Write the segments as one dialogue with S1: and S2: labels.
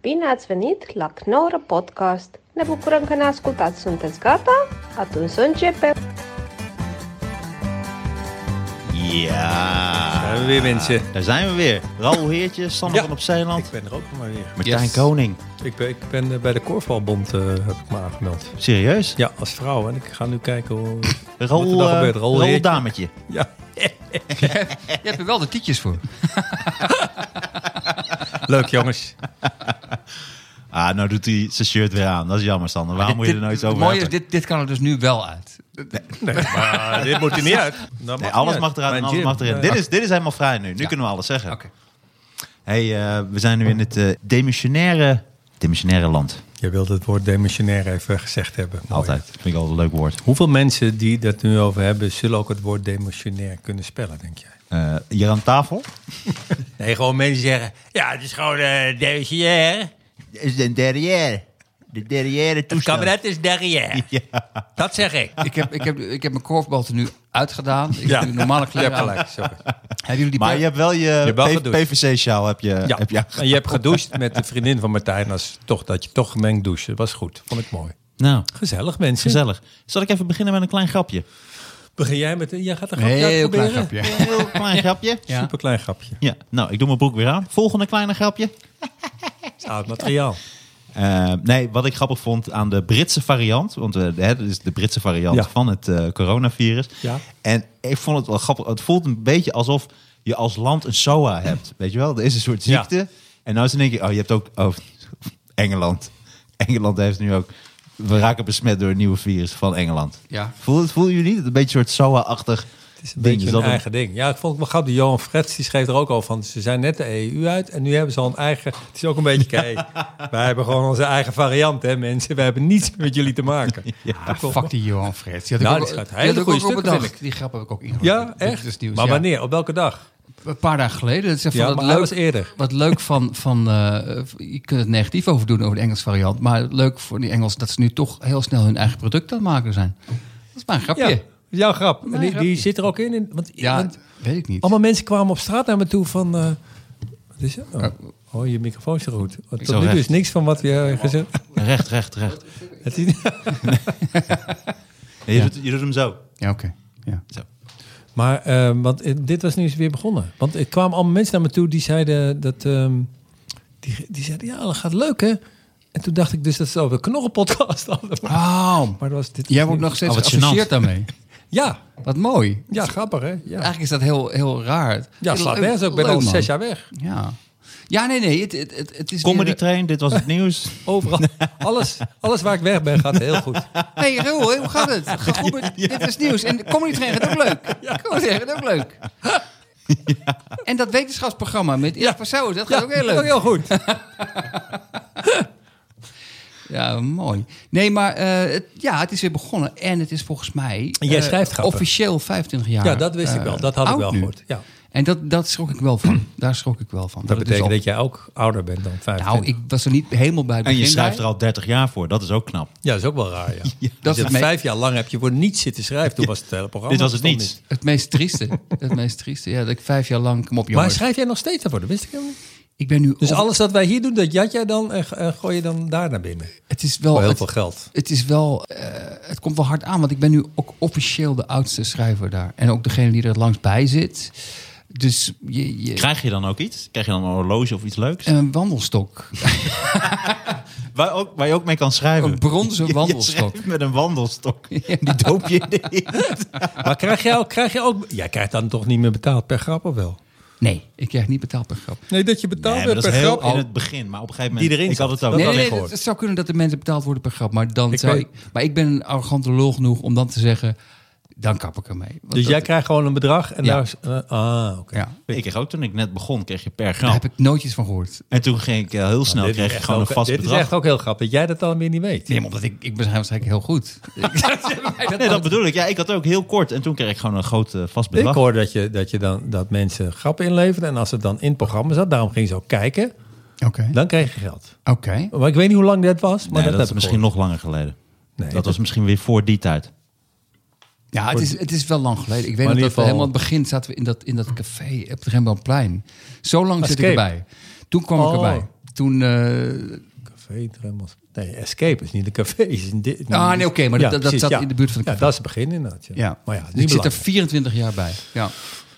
S1: Bine ați venit la Knorr Podcast! Ne bucurăm că ne ascultați! Sunteți gata? Atunci să începem!
S2: Ja.
S3: Daar hebben we weer mensen.
S2: Daar zijn we weer. Raoul Heertje, Sander
S3: Ja.
S2: van op Zeeland.
S3: Ik ben er ook nog maar weer.
S2: Martijn
S4: Yes.
S2: Koning.
S3: Ik ben, ik ben eh, bij de Korfbalbond eh, heb ik me aangemeld.
S2: Serieus?
S3: Ja, als vrouw. En ik ga nu kijken hoe... wat er
S2: Raoul,
S3: dan
S2: eh,
S3: gebeurt. Raoul
S2: Raoul
S3: Heertje.
S2: Dametje.
S3: Ja,
S4: Je hebt er wel de tietjes voor.
S3: leuk jongens.
S2: Ah, nou doet hij zijn shirt weer aan. Dat is jammer, Sander. Waarom moet je er
S4: Dit-
S2: nooit
S4: dit-
S2: over
S4: mooi is,
S2: hebben?
S4: dit, dit kan er dus nu wel uit.
S3: Nee, maar dit moet er niet uit. Dat mag
S2: Nee,
S3: niet
S2: alles
S3: uit.
S2: mag eruit en
S3: Mijn
S2: alles
S3: gym.
S2: mag erin.
S3: Eh,
S2: Dit is, dit is helemaal vrij nu. Nu
S4: Ja.
S2: kunnen we alles zeggen.
S4: Oké.
S2: hey, eh, we zijn nu in het eh, demissionaire, demissionaire land.
S3: Je wilt het woord demissionair even gezegd hebben. Mooi.
S2: Altijd. Vind ik altijd een leuk woord.
S3: Hoeveel mensen die dat nu over hebben, zullen ook het woord demissionair kunnen spellen, denk jij?
S2: Eh, hier aan tafel
S3: Nee, gewoon mensen zeggen, ja, het is gewoon eh, demissionair.
S2: is de derrière. De derrière
S3: is derrière.
S2: Ja.
S3: Dat zeg ik.
S4: Ik, heb, ik, heb, ik heb mijn korfbal er nu uitgedaan. Ik
S3: Ja.
S4: heb een normale
S3: Je hebt
S4: kleren aan.
S3: gelijk, sorry.
S4: Hebben jullie die
S2: Maar
S4: per-
S2: je hebt wel je,
S3: hebt wel gedoucht.
S2: PVC-sjaal heb
S4: Eh,
S2: je,
S3: Ja,
S2: heb je
S3: en je hebt gedoucht met de vriendin van Martijn. Als toch, dat je toch gemengd douchen. Dat was goed. Vond ik mooi.
S2: Nou,
S3: Gezellig, mensen.
S2: gezellig. Zal ik even beginnen met een klein grapje?
S3: Begin jij met... een- Jij gaat een
S4: Een
S3: grapje
S4: heel klein
S3: uitproberen?
S4: grapje.
S2: Heel klein grapje.
S4: Ja.
S3: Superklein grapje.
S2: Ja, nou, ik doe mijn broek weer aan. Volgende kleine grapje.
S3: Het is oud materiaal.
S2: Eh, nee, wat ik grappig vond aan de Britse variant, want eh, hè, dat is de Britse variant
S3: Ja.
S2: van het eh, coronavirus.
S3: Ja.
S2: En ik vond het wel grappig. Het voelt een beetje alsof je als land een SOA hebt. Weet je wel, er is een soort
S3: Ja.
S2: ziekte. En nou is denk ik, oh, je hebt ook oh, Engeland. Engeland heeft nu ook. We raken besmet door een nieuwe virus van Engeland.
S4: Ja.
S2: Voel, het- voelen jullie niet? Een beetje een soort SOA-achtig.
S3: Het is een beetje een eigen ding. Ja, ik vond het wel grappig. Johan Frets die schreef er ook al van. Ze zijn net de EU uit en nu hebben ze al een eigen... Het is ook een beetje... Kijk, wij hebben gewoon onze eigen variant, hè mensen. Wij hebben niets met jullie te maken.
S4: Ah, fuck die Johan Frits. Die had
S3: Nou,
S4: ik ook,
S3: die
S4: die
S3: schrijft
S4: had
S3: hele
S4: ik
S3: goede
S4: ook op
S3: stukken,
S4: bedacht.
S3: vind
S4: Die grap heb ik ook ingegooid.
S3: Ja,
S4: Dit
S3: echt?
S4: is dus nieuws,
S3: maar
S4: ja.
S3: wanneer? Op welke dag?
S4: Een paar dagen geleden. Dat is
S3: Ja,
S4: van
S3: maar
S4: het
S3: hij
S4: leuk,
S3: was eerder.
S4: Wat leuk van, van eh, je kunt het negatief over doen over de Engelse variant. Maar leuk voor die Engels dat ze nu toch heel snel hun eigen product aan het maken zijn. Dat is maar een
S3: Ja,
S4: grapje. Ja,
S3: jouw grap. En
S4: Mijn
S3: die, die
S4: grapje.
S3: zit er ook in. in- want, want-
S4: weet ik niet.
S3: Allemaal mensen kwamen op straat naar me toe van... eh, wat is het nou? Oh, je microfoon is er goed. Want Tot
S2: Zo
S3: nu toe is
S2: recht.
S3: niks van wat je eh, gezegd
S2: Recht, recht, recht.
S3: Het is-
S2: Je, doet, je doet hem zo.
S4: Ja, oké. Ja.
S2: zo.
S3: Maar eh, want, eh, dit was nu eens weer begonnen. Want er kwamen allemaal mensen naar me toe die zeiden dat... ehm, die, die zeiden, ja, dat gaat leuk, hè? En toen dacht ik dus dat ze over de knorrenpodcast hadden. Maar
S4: Oh,
S3: dat was dit...
S4: jij wordt nog steeds
S2: Oh, wat
S4: geassocieerd
S2: gênant.
S4: daarmee.
S3: Ja,
S4: Wat mooi.
S3: ja, grappig, hè? Ja,
S4: Eigenlijk Oh, is dat heel, heel raar.
S3: ja slaat nergens ook. Ik ben al zes jaar weg.
S4: Ja. Ja, nee, nee. Het, het, het, het is
S2: Comedy
S4: weer-
S2: train, dit was het nieuws.
S3: Overal. Alles, alles waar ik weg ben gaat heel goed.
S4: Hey, Roel, hoe gaat het? Goed, Dit is nieuws. En de Comedy Train gaat ook leuk. Comedy Train gaat ook leuk. En dat wetenschapsprogramma met Erik Passauers, dat gaat ook heel
S3: Ook
S4: leuk.
S3: heel goed.
S4: Ja, mooi. Nee, maar eh, het, ja, het is weer begonnen. En het is volgens mij
S3: En jij
S4: eh,
S3: schrijft grappen.
S4: officieel 25 jaar
S3: Ja, dat wist ik
S4: eh,
S3: wel. Dat had ik
S4: oud
S3: wel
S4: nu.
S3: goed. Ja.
S4: En dat, dat schrok ik wel van. Daar schrok ik wel van.
S3: Dat
S4: het
S3: betekent
S4: dus
S3: dat jij ook ouder bent dan 25.
S4: al- Nou, ik was er niet helemaal bij het
S2: En
S4: begin
S2: je schrijft
S4: bij.
S2: er al 30 jaar voor, dat is ook knap.
S3: Ja, dat is ook wel raar, ja.
S4: Dat
S3: dat
S4: is het me-
S3: vijf jaar lang heb je voor niets zitten schrijven. Toen was het hele programma.
S2: Dit was het
S3: bestond
S2: niets.
S4: Het meest trieste. Het meest trieste. Ja, dat ik vijf jaar lang... Kom op,
S3: Maar
S4: jongens.
S3: schrijf jij nog steeds daarvoor? Dat wist ik helemaal niet.
S4: ik ben nu...
S3: Dus
S4: op-
S3: alles dat wij hier doen, dat jat jij dan en eh, gooi je dan daar naar binnen.
S4: Het is
S3: Voor
S4: wel...
S3: Oh, heel
S4: het-
S3: veel geld.
S4: Het is wel, eh, het komt wel hard aan, want ik ben nu ook officieel de oudste schrijver daar. En ook degene die er het langst bij zit. Dus je, je,
S2: Krijg je dan ook iets? Krijg je dan een horloge of iets leuks?
S4: een wandelstok.
S2: Waar, ook, waar je ook mee kan schrijven.
S4: Een bronzen
S2: Je- je
S4: wandelstok.
S2: schrijft met een wandelstok. Die doop je in de inkt.
S3: Maar krijg jij ook, krijg jij ook... Jij krijgt dan toch niet meer betaald per grap of wel?
S4: Nee, ik krijg niet betaald per grap.
S3: Nee, dat je betaald
S2: Nee, maar
S3: werd
S2: dat is
S3: per
S2: heel
S3: grap.
S2: in het begin. Maar op een gegeven moment...
S3: Die erin
S2: ik had
S3: zat.
S2: het ook.
S4: Nee,
S3: Dat had
S4: nee,
S3: ik
S4: nee,
S3: gehoord.
S4: het zou kunnen dat de mensen betaald worden per grap. Maar, dan
S3: Ik
S4: zou
S3: weet-
S4: ik, maar ik ben een arrogante lul genoeg om dan te zeggen, dan kap ik ermee. Want
S3: Dus
S4: dat-
S3: jij krijgt gewoon een bedrag en
S4: Oh. Ja.
S3: daar is... eh, ah, oké.
S4: ja, daar
S2: Ik kreeg ook toen ik net begon, kreeg je per
S4: heb
S2: grap.
S4: ik nooitjes van gehoord.
S2: En toen ging ik eh, heel snel,
S3: Nou, Dit is
S2: kreeg je
S3: echt
S2: gewoon een
S3: ook-
S2: vast
S3: Dit
S2: bedrag.
S3: is echt ook heel grappig, dat jij dat dan weer niet weet.
S4: Nee, maar omdat ik, ik ben waarschijnlijk heel goed.
S2: Nee, dat bedoel ik. Ja, ik had ook heel kort. En toen kreeg ik gewoon een groot eh, vast
S3: Ik
S2: bedrag.
S3: hoorde dat, je, dat, je dan, dat mensen grappen inleverden. En als het dan in het programma zat, daarom gingen ze ook kijken.
S4: Oké.
S3: Dan kreeg je geld.
S4: Oké.
S3: Maar ik weet niet hoe lang dat was. Maar
S2: Nee, dat
S3: dat,
S2: is
S3: heb ik
S2: misschien
S3: gehoord.
S2: nog langer geleden.
S3: Nee,
S2: Dat was misschien weer voor die tijd.
S4: Ja, het is, het is wel lang geleden. Ik weet
S3: Maar
S4: nog
S3: in
S4: dat
S3: ieder geval-
S4: we helemaal aan het begin zaten we in dat, in dat café op het Rembrandtplein. Zo lang zit ik
S3: Escape.
S4: erbij. Toen kwam ik
S3: Oh,
S4: erbij. toen... eh,
S3: Café Dremmels. Nee, Escape is niet een café. Is een di-
S4: Ah, nee, oké, maar dat- dat zat in de buurt van een
S3: ja,
S4: café.
S3: dat is het begin inderdaad. Ja.
S4: ja.
S3: Maar Oh ja, het is
S4: Dus
S3: niet
S4: ik zit er
S3: belangrijk.
S4: 24 jaar bij.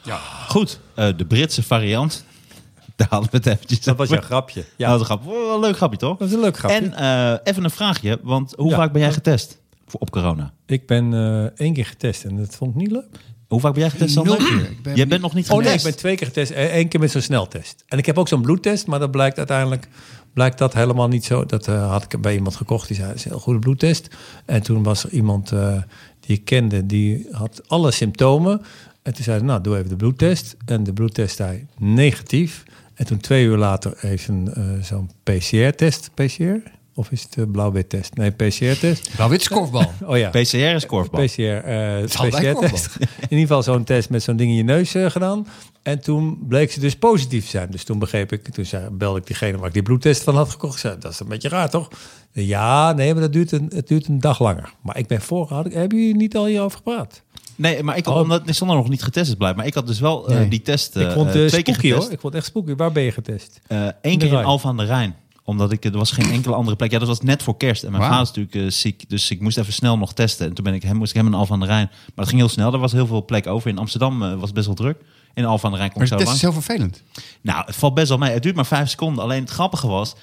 S4: Ja.
S3: Goed,
S2: Eh, de Britse variant. Daar hadden we het eventjes
S3: dat was
S2: over.
S3: jouw grapje.
S2: Ja.
S3: Ja,
S2: Nou, Dat was een grap. Wel een leuk grapje, toch?
S3: dat is een leuk grapje.
S2: En eh, even een vraagje, want hoe
S3: Ja.
S2: vaak ben jij getest voor, op corona?
S3: Ik ben eh, één keer getest en dat vond ik niet leuk.
S2: Hoe vaak ben jij getest,
S4: Nul
S2: Sander?
S4: keer. Ik ben
S2: jij
S4: niet-
S2: bent nog niet
S3: Oh
S2: getest.
S3: nee, ik ben twee keer getest. Eh, Eén keer met zo'n sneltest. En ik heb ook zo'n bloedtest, maar dat blijkt uiteindelijk blijkt dat helemaal niet zo. Dat eh, had ik bij iemand gekocht, die zei, het is een heel goede bloedtest. En toen was er iemand eh, die ik kende, die had alle symptomen. En toen zei ze, nou, doe even de bloedtest. En de bloedtest zei negatief. En toen twee uur later heeft een eh, zo'n PCR-test. PCR? Of is het eh, blauw-wit-test? Nee, PCR-test.
S4: Nou, wit is korfbal.
S3: Oh ja.
S2: PCR is korfbal.
S3: PCR, eh,
S4: zal bij
S3: PCR test. In ieder geval zo'n test met zo'n ding in je neus eh, gedaan. En toen bleek ze dus positief te zijn. Dus toen begreep ik, toen zei, belde ik diegene waar ik die bloedtest van had gekocht. Ik zei, dat is een beetje raar, toch? Ja, nee, maar dat duurt een, het duurt een dag langer. Maar ik ben voorgehouden. Hebben jullie niet al hierover gepraat?
S2: Nee, maar ik had,
S3: Oh.
S2: omdat nee, Sander nog niet getest is blijkbaar. Maar ik had dus wel eh,
S3: Nee.
S2: die test eh
S3: ik vond
S2: eh,
S3: eh,
S2: twee keer
S3: spooky,
S2: getest.
S3: hoor. Ik vond het echt spooky. Waar ben je getest?
S2: Eh, Eén keer
S3: Rijn.
S2: in Alphen aan de Rijn. Omdat ik, er was geen enkele andere plek. Ja, dat was net voor kerst. En mijn
S4: Wauw.
S2: vader is natuurlijk eh, ziek. Dus ik moest even snel nog testen. En toen ben ik, hem, moest ik hem in Alphen aan de Rijn. Maar dat ging heel snel. Er was heel veel plek over. In Amsterdam eh, was het best wel druk. In Alphen aan de Rijn kon
S4: Maar
S2: ik zo
S4: dat is
S2: lang.
S4: heel vervelend.
S2: Nou, het valt best wel mee. Het duurt maar vijf seconden. Alleen het grappige was,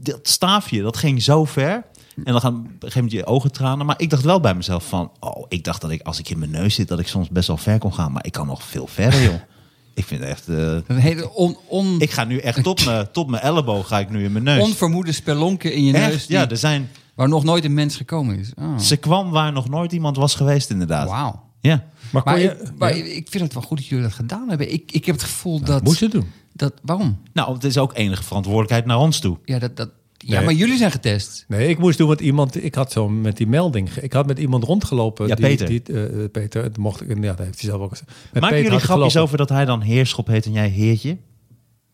S2: dat staafje, dat ging zo ver. En dan gaan op een gegeven moment je ogen tranen. Maar ik dacht wel bij mezelf van, oh, ik dacht dat ik als ik in mijn neus zit, dat ik soms best wel ver kon gaan. Maar ik kan nog veel verder, joh. Ik vind echt, eh,
S4: Een hele on, on,
S2: ik ga nu echt tot mijn, tot mijn elleboog ga ik nu in mijn neus.
S4: onvermoede spelonken in je
S2: Echt?
S4: neus. die-
S2: Ja, er zijn,
S4: Waar nog nooit een mens gekomen is. Ah.
S2: ze kwam waar nog nooit iemand was geweest, inderdaad.
S4: Wauw.
S2: Ja.
S3: Maar, kon
S4: Maar,
S3: je,
S4: ik, maar ik vind het wel goed dat jullie dat gedaan hebben. Ik, ik heb het gevoel dat...
S3: moest je doen.
S4: dat waarom?
S2: Nou, het is ook enige verantwoordelijkheid naar ons toe.
S4: Ja, dat, dat, ja
S3: Nee.
S4: maar jullie zijn getest.
S3: Nee, ik moest doen wat iemand. Ik had zo met die melding. ge- Ik had met iemand rondgelopen.
S2: Ja,
S3: die,
S2: Peter.
S3: Die, eh, eh, Peter, het mocht ik. Ja, dat heeft hij zelf ook gezegd. Met
S2: Maken
S3: Peter
S2: jullie
S3: had ik
S2: grapjes
S3: gelopen.
S2: over dat hij dan heerschop heet en jij heertje?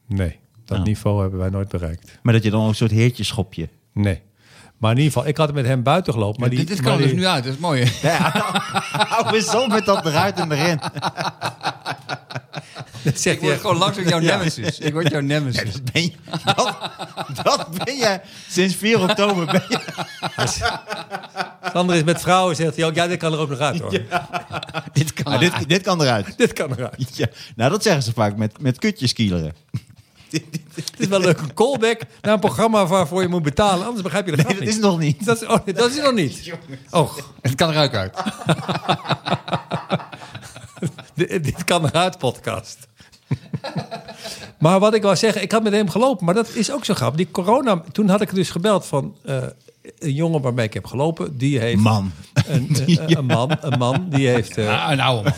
S3: Nee, dat
S2: Oh.
S3: niveau hebben wij nooit bereikt.
S2: Maar dat je dan ook een soort heertjeschopje...
S3: Nee. Maar in ieder geval, ik had met hem buiten gelopen. Maar
S4: Ja,
S3: die,
S4: dit, dit
S3: maar
S4: kan er dus
S3: die-
S4: nu uit, dat is mooi. hè?
S2: Hou eens op met dat eruit en erin.
S3: Dat zegt
S4: Ik word
S3: hij
S4: gewoon langzaam jouw nemesis. Ik word jouw nemesis.
S2: Dat ben, je, dat, dat ben jij sinds 4 oktober. Ben je,
S3: echt. Sander is met vrouwen, zegt hij ook. Ja, dit kan er ook nog uit hoor.
S4: dit kan
S2: Ah, dit, dit kan eruit.
S3: Dit kan eruit.
S2: Ja, nou, dat zeggen ze vaak met, met kutjeskieleren.
S3: Het is wel leuk. Een callback naar een programma waarvoor je moet betalen. Anders begrijp je de
S2: Nee,
S3: grap
S2: dat
S3: niet.
S2: is het nog niet.
S3: Dat is, oh, dat is het nog niet. Oh,
S4: Het kan er ook uit.
S3: Dit, dit kan eruit, podcast. maar wat ik wou zeggen, ik had met hem gelopen, maar dat is ook zo grappig. Die corona, toen had ik dus gebeld van eh, een jongen waarmee ik heb gelopen, die heeft
S2: Man.
S3: een, eh, eh, een man, een man, die heeft, eh,
S4: Ah, nou, man.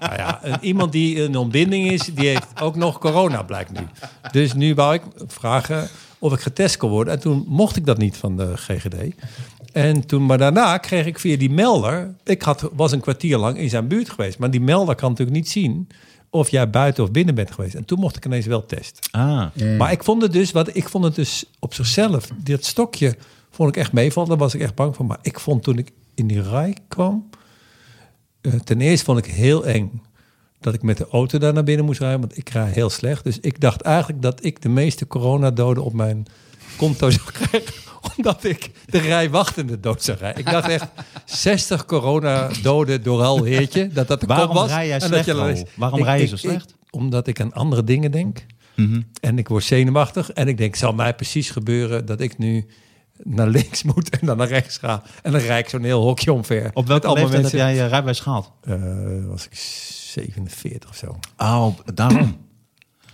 S3: nou ja, een- iemand die in ontbinding is, die heeft ook nog corona blijkt nu. Dus nu wou ik vragen of ik getest kon worden en toen mocht ik dat niet van de GGD. En toen, maar daarna kreeg ik via die melder. Ik had, was een kwartier lang in zijn buurt geweest. Maar die melder kan natuurlijk niet zien of jij buiten of binnen bent geweest. En toen mocht ik ineens wel testen.
S2: Ah,
S3: Maar ik vond het dus, wat, ik vond het dus op zichzelf, dit stokje vond ik echt meevallen. Daar was ik echt bang voor. Maar ik vond toen ik in die rij kwam, eh, ten eerste vond ik heel eng dat ik met de auto daar naar binnen moest rijden, want ik rij heel slecht. Dus ik dacht eigenlijk dat ik de meeste coronadoden op mijn konto zou krijgen, omdat ik de rij wachtende dood zou rijden. Ik dacht echt 60 coronadoden door al heertje, dat dat de
S2: Waarom
S3: kop was.
S2: rij jij
S3: en dat
S2: slecht,
S3: je dan
S2: Raoul?
S3: eens-
S2: Waarom
S3: Ik-
S2: rij je
S3: ik-
S2: zo
S3: ik-
S2: slecht?
S3: omdat ik aan andere dingen denk.
S2: Mhm.
S3: En ik word zenuwachtig. En ik denk, zal mij precies gebeuren dat ik nu naar links moet en dan naar rechts ga. En dan rijd ik zo'n heel hokje omver.
S2: op welke
S3: allemaal
S2: leeftijd heb jij je rijbewijs gehaald?
S3: Eh, was ik 47 of zo.
S2: Oh, daarom.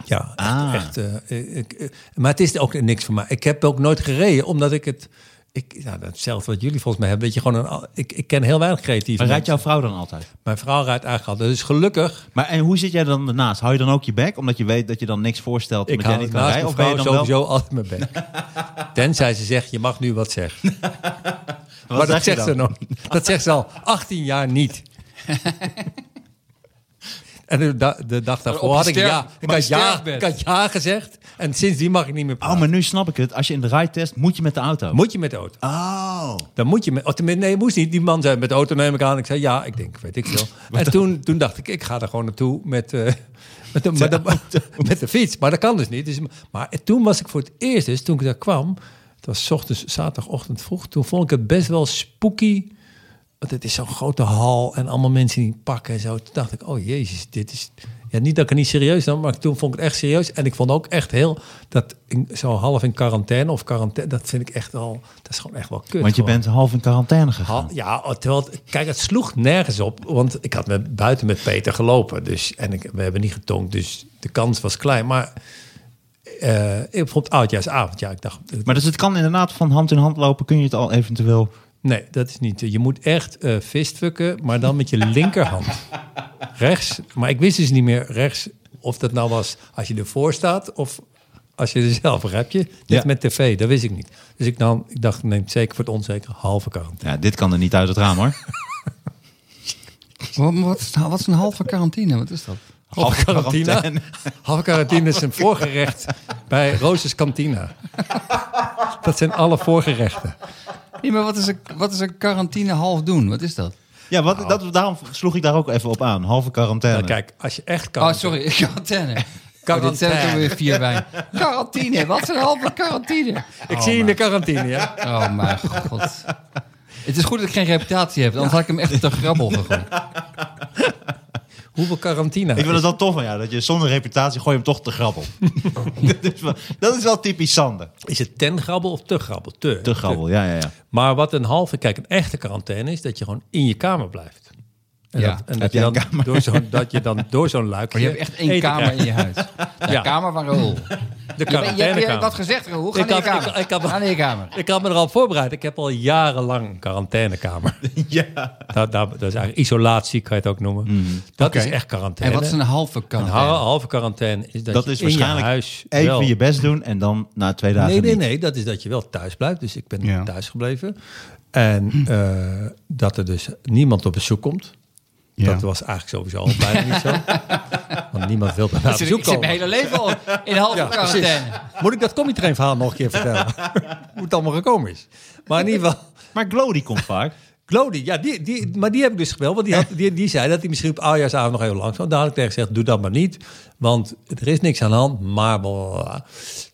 S3: Ja, echt.
S2: Ah.
S3: echt, eh, ik, eh, maar het is ook niks voor mij. Ik heb ook nooit gereden, omdat ik het... Ik, ja, hetzelfde wat jullie volgens mij hebben. Dat je gewoon een, al- ik, ik ken heel weinig creatieve
S2: Maar rijdt
S3: mensen.
S2: jouw vrouw dan altijd?
S3: Mijn vrouw rijdt eigenlijk al. Dus gelukkig...
S2: Maar en hoe zit jij dan ernaast? Hou je dan ook je bek, omdat je weet dat je dan niks voorstelt,
S3: Ik
S2: omdat jij
S3: hou
S2: niet
S3: het
S2: kan
S3: naast
S2: rijden?
S3: mijn
S2: Of ben je
S3: vrouw
S2: dan wel?
S3: sowieso altijd mijn bek. Tenzij ze zegt, je mag nu wat zeggen.
S2: Wat
S3: maar dat
S2: zeg je
S3: zegt ze
S2: dan?
S3: nog. niet. Dat zegt ze al 18 jaar niet. En de, da- de dag daarvoor
S4: op
S3: had ik
S4: sterf-
S3: ja, ik
S4: maar
S3: had ja,
S4: sterfbed.
S3: ik had ja gezegd. En sindsdien mag ik niet meer praten.
S2: Oh, maar nu snap ik het. Als je in de rij test, moet je met de auto.
S3: Moet je met de auto?
S2: Oh.
S3: Dan moet je met, oh, tenminste, nee, moest niet. Die man zei met de auto neem ik aan. Ik zei ja, ik denk, weet ik veel. en toen, toen dacht ik, ik ga er gewoon naartoe met, eh, Met de, maar dat- met de fiets. Maar dat kan dus niet. Dus, maar toen was ik voor het eerst, dus toen ik daar kwam, het was 's ochtends, zaterdagochtend vroeg, toen vond ik het best wel spooky. Want het is zo'n grote hal en allemaal mensen die pakken en zo. Toen dacht ik, oh jezus, dit is... Ja, niet dat ik het niet serieus nam, maar toen vond ik het echt serieus. En ik vond ook echt heel, dat in- zo half in quarantaine of quarantaine, dat vind ik echt wel, dat is gewoon echt wel kut.
S2: Want je
S3: gewoon.
S2: bent half in quarantaine
S3: Ha-
S2: gegaan.
S3: Ja, terwijl het- kijk, het sloeg nergens op, want ik had met, buiten met Peter gelopen. Dus, en ik, we hebben niet getonkt, dus de kans was klein. Maar eh, ik vond het oudjaarsavond, ja, ik dacht... eh,
S2: Maar dus het kan inderdaad van hand in hand lopen. Kun je het al eventueel...
S3: Nee, dat is niet. Je moet echt eh fistfucken, maar dan met je linkerhand. rechts, maar ik wist dus niet meer rechts of dat nou was als je ervoor staat of als je er zelf, begrijp je? Net
S2: Ja.
S3: met tv, dat wist ik niet. Dus ik, nam, ik dacht, neem het zeker voor het onzeker halve kant.
S2: Ja, dit kan er niet uit het raam hoor.
S4: Wat, wat, is, nou- wat is een halve quarantine? Wat is dat?
S3: Halve
S2: quarantaine.
S3: quarantine. Halve quarantine is een voorgerecht bij Roos's Cantina. Dat zijn alle voorgerechten.
S4: Nee, maar wat is een, wat is een quarantine half doen? Wat is dat?
S2: Ja, wat, dat, daarom sloeg ik daar ook even op aan. Halve quarantaine.
S3: Nou, kijk, als je echt kan.
S4: Oh, sorry,
S3: Oh,
S4: quarantaine. Quarantaine. zijn er weer vier bij. Quarantine, wat is een halve quarantine?
S3: Ik zie je in de quarantine, ja.
S4: Oh mijn god. Het is goed dat ik geen reputatie heb, anders had ik hem echt te grabbel gegooid.
S3: Hoeveel quarantine?
S2: Ik vind het wel tof van jou, dat je zonder reputatie gooi je hem toch te grabbel. dat, is wel, dat is wel typisch Sander.
S3: Is het ten grabbel of te grabbel? Te.
S2: Te grabbel, ja, ja, ja.
S3: Maar wat een halve, kijk, een echte quarantaine is dat je gewoon in je kamer blijft. En
S4: Ja,
S3: dat, en
S2: heb
S3: dat, je
S2: jij een
S3: dan
S2: kamer?
S3: door zo'n, dat je dan door zo'n
S4: Maar
S3: luikje.
S4: je hebt echt één
S3: eten
S4: kamer
S3: krijgt.
S4: in je huis. De
S3: Ja.
S4: kamer van Raoul.
S3: De
S4: Je, je, je,
S3: quarantainekamer.
S4: hebt wat gezegd, Raoul. Ga
S3: Ik
S4: naar je
S3: had- ik-
S4: kamer.
S3: ik had-
S4: Ga naar je kamer.
S3: Ik had me er al op voorbereid. Ik heb al jarenlang een quarantainekamer.
S2: ja.
S3: Dat, dat, dat is eigenlijk isolatie, kan je het ook noemen. Dat
S4: Mhm. Oké.
S3: is echt quarantaine.
S4: En wat is een halve
S3: Een
S4: quarantaine?
S3: hal- halve quarantaine is dat,
S2: Dat
S3: je
S2: is
S3: in je
S2: waarschijnlijk
S3: huis
S2: even
S3: wel-
S2: je best doen en dan na twee dagen
S3: Nee, nee,
S2: niet.
S3: nee. Dat is dat je wel thuis blijft. Dus ik ben
S4: Ja.
S3: thuis gebleven. En eh, dat er dus niemand op bezoek komt.
S4: Ja.
S3: Dat was eigenlijk sowieso al bijna niet zo. Want niemand wil bij mij
S4: Ik
S3: op
S4: zit,
S3: bezoek
S4: ik zit mijn
S3: komen.
S4: hele leven al in halve
S3: Ja, precies.
S4: quarantaine.
S3: Moet ik dat comietrain verhaal nog een keer vertellen? Hoe het allemaal gekomen is. Maar in ieder geval...
S2: Maar Glow die komt vaak.
S3: Glody, ja, die, die, maar die heb ik dus gebeld. Want die, had, die, die zei dat hij misschien op oudjaarsavond nog even langs kwam. Daar had ik tegen gezegd, doe dat maar niet. Want er is niks aan de hand, maar blablabla.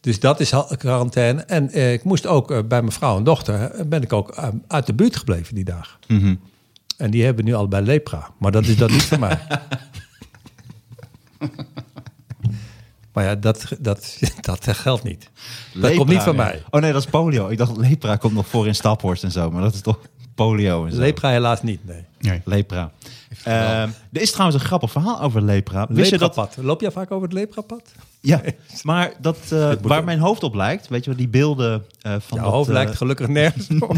S3: Dus dat is ha- quarantaine. En eh, ik moest ook eh, bij mijn vrouw en dochter... eh, ben ik ook eh, uit de buurt gebleven die dag.
S2: Mhm.
S3: En die hebben nu allebei lepra. Maar dat is dat niet voor mij. Maar ja, dat, dat, dat geldt niet. Dat
S2: Lepra,
S3: komt niet van
S2: ja.
S3: mij.
S2: Oh nee, dat is polio. Ik dacht lepra komt nog voor in Staphorst en zo, maar dat is toch polio en zo.
S3: Lepra helaas niet, nee.
S2: Lepra. Ehm, er is trouwens een grappig verhaal over lepra. Wist je dat?
S3: Leprapad. Loop jij vaak over het leprapad?
S2: Ja, maar dat, eh, waar mijn hoofd op lijkt, weet je wel, die beelden eh, van
S3: Jouw
S2: dat,
S3: hoofd
S2: eh,
S3: lijkt gelukkig nergens op.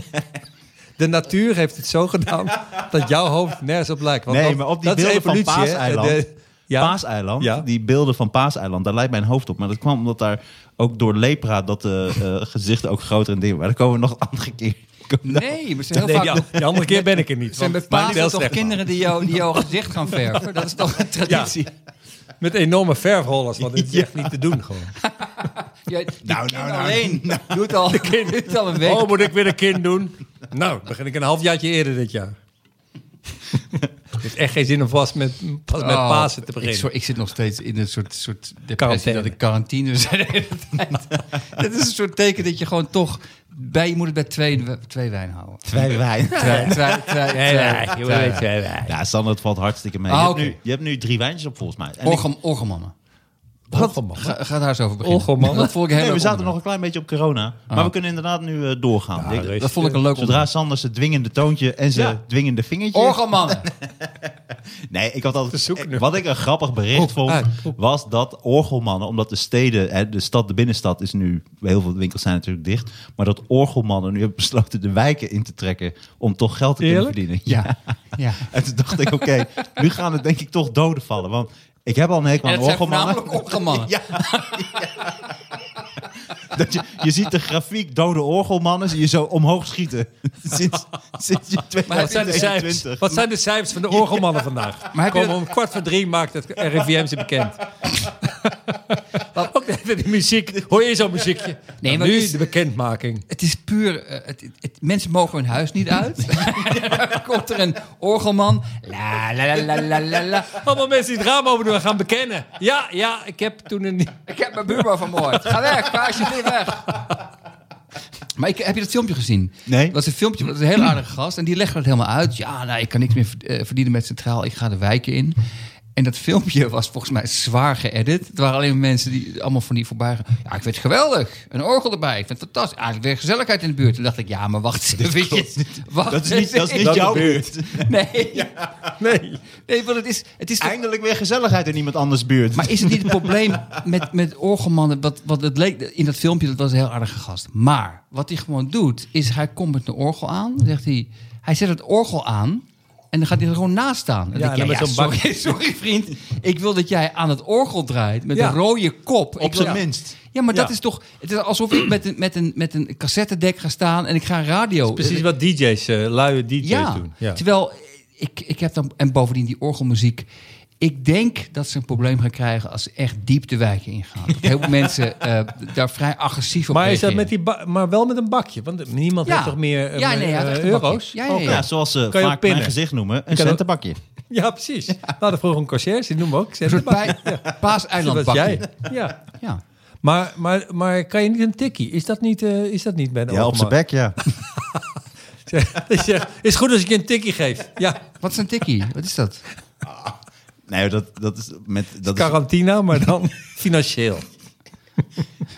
S3: De natuur heeft het zo gedaan dat jouw hoofd nergens op lijkt. Want
S2: Nee,
S3: dat-
S2: maar op die
S3: dat is
S2: beelden van
S3: evolutie, hè?
S2: Paaseiland.
S3: De- ja.
S2: Paaseiland,
S3: Ja.
S2: die beelden van Paaseiland, daar lijkt mijn hoofd op. Maar dat kwam omdat daar ook door lepra dat eh, eh, gezichten ook groter en dingen. Maar daar komen we nog een andere keer.
S4: Nee, maar ze zijn heel
S3: Nee,
S4: vaak...
S3: die, de andere keer ben ik er niet.
S4: zijn bij
S3: want mijn
S4: Pasen
S3: beeld
S4: toch
S3: zegt-
S4: kinderen die jou- die jouw gezicht gaan verven? Dat is toch een
S3: Ja,
S4: traditie?
S3: met enorme verfrollers, want dit is echt niet te doen gewoon.
S4: Jij, nou, nou, alleen. Doet al, doet al een week.
S3: Oh, moet ik weer een kind doen? Nou, begin ik een halfjaartje eerder dit jaar. Het heeft echt geen zin om vast met, pas met
S4: Oh,
S3: Pasen te
S4: Ik,
S3: beginnen.
S4: zo- ik zit nog steeds in een soort, soort depressie
S3: Quarantaine.
S4: dat ik quarantine zit de hele tijd. dat is een soort teken dat je gewoon toch... Bij, je moet het bij twee, twee wijn houden.
S2: Twee wijn.
S4: Twee, twee, twee,
S3: Nee, nee,
S4: twee,
S3: je
S4: twee.
S3: weet, eh, nee.
S2: Ja, Sander, het valt hartstikke mee.
S4: Ah,
S2: je, hebt
S4: oké. Oh,
S2: nu, je hebt nu drie wijntjes op volgens mij. En ik-
S4: Orgem- Orgelmannen.
S3: Wat?
S4: Ga, ga daar eens over beginnen.
S3: Orgelmannen?
S4: Dat vond ik heel
S2: nee, we
S4: leuk
S2: zaten nog
S4: onderwerp.
S2: een klein beetje op corona. Maar we kunnen inderdaad nu eh, doorgaan. Ik-
S3: rustig.
S4: Dat vond ik een leuk
S2: Zodra
S4: onderwerp.
S2: Sander zijn dwingende toontje en zijn
S3: Ja.
S2: dwingende vingertje...
S4: Orgelmannen.
S2: Nee, ik had
S3: Te zoeken nu.
S2: altijd. Wat ik een grappig bericht
S3: Oep,
S2: vond,
S3: uit,
S2: was dat orgelmannen, omdat de steden, hè, de stad, de binnenstad is nu, heel veel winkels zijn natuurlijk dicht, maar dat orgelmannen nu hebben besloten de wijken in te trekken om toch geld te
S3: Eerlijk?
S2: kunnen verdienen.
S4: Ja. ja.
S2: En toen dacht ik, oké, nu gaan het denk ik toch doden vallen, want ik heb al een hekel
S4: En
S2: aan
S4: het zijn
S2: orgelmannen.
S4: voornamelijk orgelmannen.
S2: Ja. Dat je, je ziet de grafiek dode orgelmannen, zie je zo omhoog schieten. Sinds, sinds je
S3: Maar wat zijn, de cijfers,
S2: 2021.
S3: wat zijn de cijfers van de orgelmannen vandaag?
S4: Maar heb je
S3: Komen
S4: dat-
S3: om kwart voor drie maakt het RIVM ze bekend. Wat ook de met die muziek. Hoor je zo'n muziekje?
S4: Nee,
S3: Nee,
S4: maar
S3: nu
S4: het is-
S3: de bekendmaking.
S4: Het is puur. eh, het, het- het- mensen mogen hun huis niet uit. Dan komt er een orgelman. La la la la la la. la.
S3: Allemaal mensen die het raam open doen en gaan bekennen. Ja, ja, ik heb toen een...
S4: Ik heb mijn buurman vermoord. Ga weg, ga alsjeblieft weg. Maar ik, heb je dat filmpje gezien?
S2: Nee.
S4: Dat was een filmpje, dat is een heel aardige gast. En die legde dat helemaal uit. Ja, nou, ik kan niks meer verd- eh, verdienen met Centraal. Ik ga de wijken in. En dat filmpje was volgens mij zwaar geëdit. Het waren alleen maar mensen die allemaal van die voorbij gaan. Ja, ik vind het geweldig. Een orgel erbij. Ik vind het fantastisch. Eigenlijk weer gezelligheid in de buurt. Toen dacht ik, ja, maar wacht eens even. Wacht
S2: Dat is niet,
S4: eens
S2: dat is niet
S4: even.
S2: jouw buurt.
S4: Nee,
S3: Nee.
S4: nee want het is, het is toch
S2: Eindelijk weer gezelligheid in iemand anders buurt.
S4: Maar is het niet het probleem met, met orgelmannen? Wat, wat het leek in dat filmpje, dat was een heel aardige gast. Maar wat hij gewoon doet, is hij komt met een orgel aan. dan Zegt hij, hij zet het orgel aan en dan gaat hij er gewoon naast staan. En
S3: Ja,
S4: dan denk
S3: en
S4: ik,
S3: dan
S4: ja,
S3: met zo'n bak.
S4: sorry, sorry vriend, ik wil dat jij aan het orgel draait met
S3: Ja.
S4: een rode kop. Ik
S2: op
S4: wil-
S2: zijn minst.
S4: Ja, maar dat
S3: Ja.
S4: is toch... Het is alsof ik met een, met een, met een cassettedek ga staan en ik ga radio...
S3: Precies wat DJ's, eh, luie DJ's
S4: Ja,
S3: doen. Ja.
S4: terwijl eh, ik, ik heb dan, en bovendien die orgelmuziek. Ik denk dat ze een probleem gaan krijgen als ze echt diep de wijken ingaan. Dat heel veel mensen eh, daar vrij agressief op
S3: Maar, is dat
S4: reageren.
S3: met die ba- maar wel met een bakje, want niemand
S4: Ja.
S3: heeft toch meer eh,
S4: Ja, nee, hij had
S3: eh,
S4: echt een
S3: euro's?
S4: bakje. Ja, ja, ja.
S2: Ja, zoals ze
S3: Kan je ook
S2: vaak mijn
S3: pinnen.
S2: gezicht noemen, een
S3: ook-
S2: centenbakje.
S3: Ja, precies. Nou, We hadden vroeger een conciërge, die noemen we ook.
S4: Een soort bij,
S3: Dat was jij.
S4: paaseilandbakje.
S3: Ja.
S4: Ja.
S3: Maar, maar, maar kan je niet een tikkie? Is dat niet, eh, is dat niet bij de
S2: Ja, op zijn
S3: overman?
S2: bek, ja.
S3: Hij zegt, is goed als ik je een tikkie geef. Ja,
S4: Wat is een tikkie? Wat is dat?
S2: Nee, dat, dat is met... Dat is,
S3: Quarantina, maar dan financieel.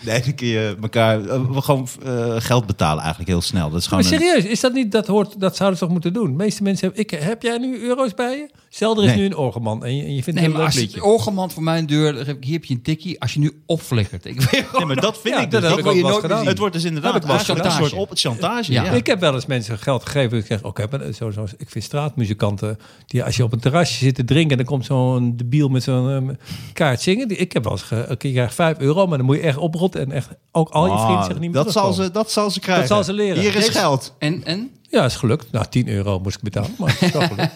S2: nee, dan kun je elkaar eh, we gewoon eh, geld betalen eigenlijk heel snel. Dat is
S3: Maar
S2: gewoon een-
S3: serieus, is dat niet, dat, hoort, dat zouden ze toch moeten doen? De meeste mensen hebben, ik, heb jij nu euro's bij je? Zelder is
S2: Nee.
S3: nu een orgelman en je, en je vindt het
S4: Nee,
S3: een
S4: maar
S3: leuk
S4: als
S3: liedje.
S4: je orgelman voor mijn deur... dan heb ik- Hier heb je een tikkie. Als je nu opflikkert. Ik weet
S2: Nee, maar dat vind
S3: Ja,
S2: ik dus.
S3: dat heb ik
S2: wil
S3: ook
S2: je
S3: wel
S2: nooit
S3: eens
S2: meer
S3: gedaan.
S2: zien. Het wordt dus
S3: Heb
S2: inderdaad
S3: ik wel eens
S2: eigenlijk een soort
S4: gedaan.
S2: op chantage.
S4: Ja.
S2: Ja.
S3: Ik heb wel eens mensen geld gegeven. dat Ik zeg, oké, maar zo, zo, ik vind straatmuzikanten, die, als je op een terrasje zit te drinken, en dan komt zo'n debiel met zo'n ehm, kaart zingen. Die, ik heb wel eens, ge, oké, je krijgt 5 euro, maar dan moet je echt oprotten en echt ook al je
S2: Ah,
S3: vrienden zeggen niet meer
S2: dat, zal
S3: terugkomen.
S2: ze, dat zal ze krijgen.
S3: zal ze leren.
S2: Hier is
S3: Deze-
S2: geld.
S4: En, en?
S3: Ja, is gelukt. Nou, 10 euro moest ik betalen, maar het is wel gelukt.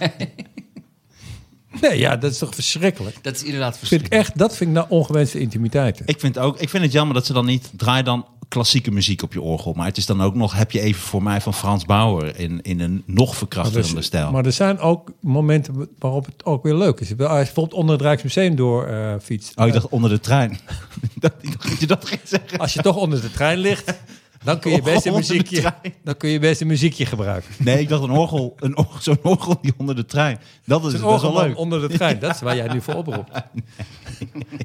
S3: Nee, ja, dat is toch verschrikkelijk.
S4: Dat is inderdaad
S3: Vind ik
S4: verschrikkelijk.
S3: echt, dat vind ik nou ongewenste intimiteiten.
S2: Ik vind, ook, ik vind het jammer dat ze dan niet draai dan klassieke muziek op je orgel. Maar het is dan ook nog, heb je even voor mij van Frans Bauer in, in een nog verkrachtende
S3: Dus-
S2: stijl.
S3: Maar er zijn ook momenten waarop het ook weer leuk is. Als je bijvoorbeeld onder het Rijksmuseum door eh, fietst.
S2: oh, ik dacht onder de trein. dat, ik dacht dat je dat ging zeggen.
S3: eh, Als je toch onder de trein ligt, dan kun je best een
S2: Onder de
S3: muziekje,
S2: trein.
S3: dan kun je best een muziekje gebruiken.
S2: Nee, ik dacht een orgel, een orgel, zo'n orgel die onder de trein. Dat is,
S3: Een
S2: best wel
S3: orgelman
S2: leuk.
S3: onder de trein, dat is waar jij nu voor oproept.